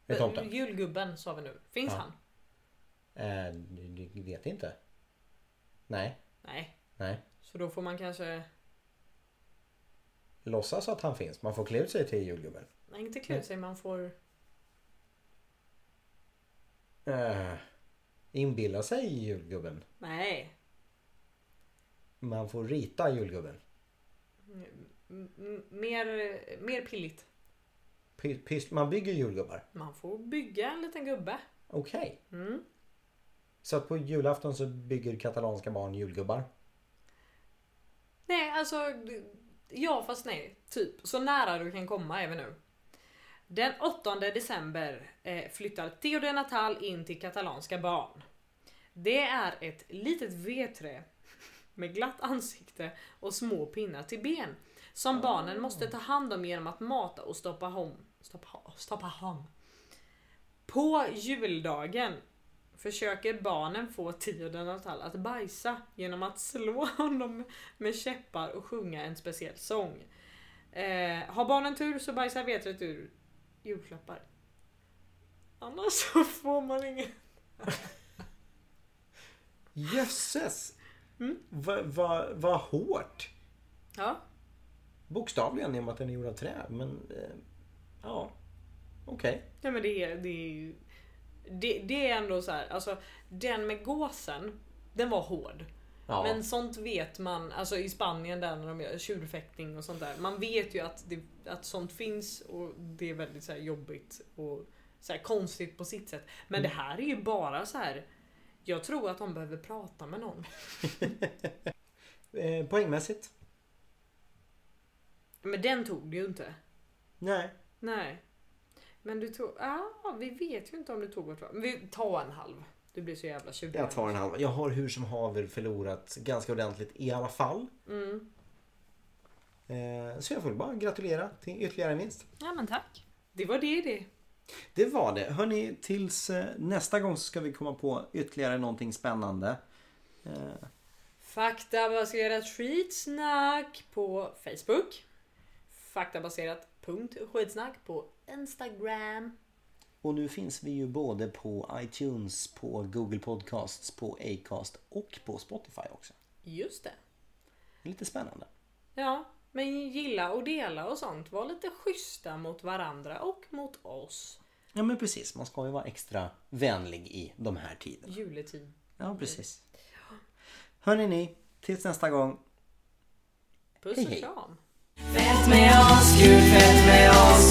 [SPEAKER 2] Är det tomten?
[SPEAKER 1] Julgubben sa vi nu. Finns
[SPEAKER 2] Ja.
[SPEAKER 1] han?
[SPEAKER 2] Eh, du- du vet inte. Nej.
[SPEAKER 1] Nej.
[SPEAKER 2] Nej.
[SPEAKER 1] Så då får man kanske...
[SPEAKER 2] Låtsas att han finns. Man får klä ut sig till julgubben.
[SPEAKER 1] Nej, inte klä ut sig. Man får...
[SPEAKER 2] Eh, inbilla sig julgubben.
[SPEAKER 1] Nej.
[SPEAKER 2] Man får rita julgubben.
[SPEAKER 1] M- m- mer, mer pilligt.
[SPEAKER 2] Py- pys- man bygger julgubbar.
[SPEAKER 1] Man får bygga en liten gubbe.
[SPEAKER 2] Okej.
[SPEAKER 1] Mm.
[SPEAKER 2] Så att på julafton så bygger katalanska barn julgubbar.
[SPEAKER 1] Nej, alltså... Ja, fast nej. Typ. Så nära du kan komma är vi nu. Den 8 december eh, flyttar Theo de Natal in till katalanska barn. Det är ett litet vedträ med glatt ansikte och små pinnar till ben som barnen måste ta hand om genom att mata och stoppa hom. Stoppa, ha- stoppa hom. På juldagen försöker barnen få Theo de Natal att bajsa genom att slå honom med käppar och sjunga en speciell sång. Eh, har barnen tur så bajsar vetret ur julklappar. Annars så får man inget.
[SPEAKER 2] Jösses! Vad va, va hårt!
[SPEAKER 1] Ja,
[SPEAKER 2] Bokstavligen i och med att den är gjord av trä. Men eh, ja, okej.
[SPEAKER 1] nej men det är, det är ju... Det, det är ändå så här, alltså den med gåsen, den var hård.
[SPEAKER 2] Ja.
[SPEAKER 1] Men sånt vet man, alltså i Spanien där när de gör tjurfäktning och sånt där. Man vet ju att, det, att sånt finns och det är väldigt så här jobbigt och så här konstigt på sitt sätt. Men
[SPEAKER 2] Mm.
[SPEAKER 1] det här är ju bara så här. Jag tror att de behöver prata med någon.
[SPEAKER 2] Eh, poängmässigt?
[SPEAKER 1] Men den tog du ju inte.
[SPEAKER 2] Nej.
[SPEAKER 1] Nej. Men du tog, ah, vi vet ju inte om du tog vart var. Men vi tar en halv. Du blir så jävla tjurig.
[SPEAKER 2] Jag tar en halv. Jag har hur som haver förlorat ganska ordentligt i alla fall.
[SPEAKER 1] Mm.
[SPEAKER 2] Eh, så jag får väl bara gratulera till ytterligare en vinst.
[SPEAKER 1] Ja men tack. Det var det det.
[SPEAKER 3] Det var det. Hörni, tills eh, nästa gång så ska vi komma på ytterligare någonting spännande.
[SPEAKER 1] Faktabaserat skitsnack på Facebook. Faktabaserat punkt skitsnack på Instagram.
[SPEAKER 3] Och nu finns vi ju både på iTunes, på Google Podcasts, på Acast och på Spotify också.
[SPEAKER 1] Just det.
[SPEAKER 3] Lite spännande.
[SPEAKER 1] Ja, men gilla och dela och sånt. Var lite schyssta mot varandra och mot oss.
[SPEAKER 3] Ja men precis, man ska ju vara extra vänlig i de här tiderna.
[SPEAKER 1] Juletid.
[SPEAKER 3] Ja precis. Hörni ni, tills nästa gång.
[SPEAKER 1] Puss
[SPEAKER 3] Hej,
[SPEAKER 1] och
[SPEAKER 3] hej.
[SPEAKER 1] kram.
[SPEAKER 4] Fett med oss, kul fett med oss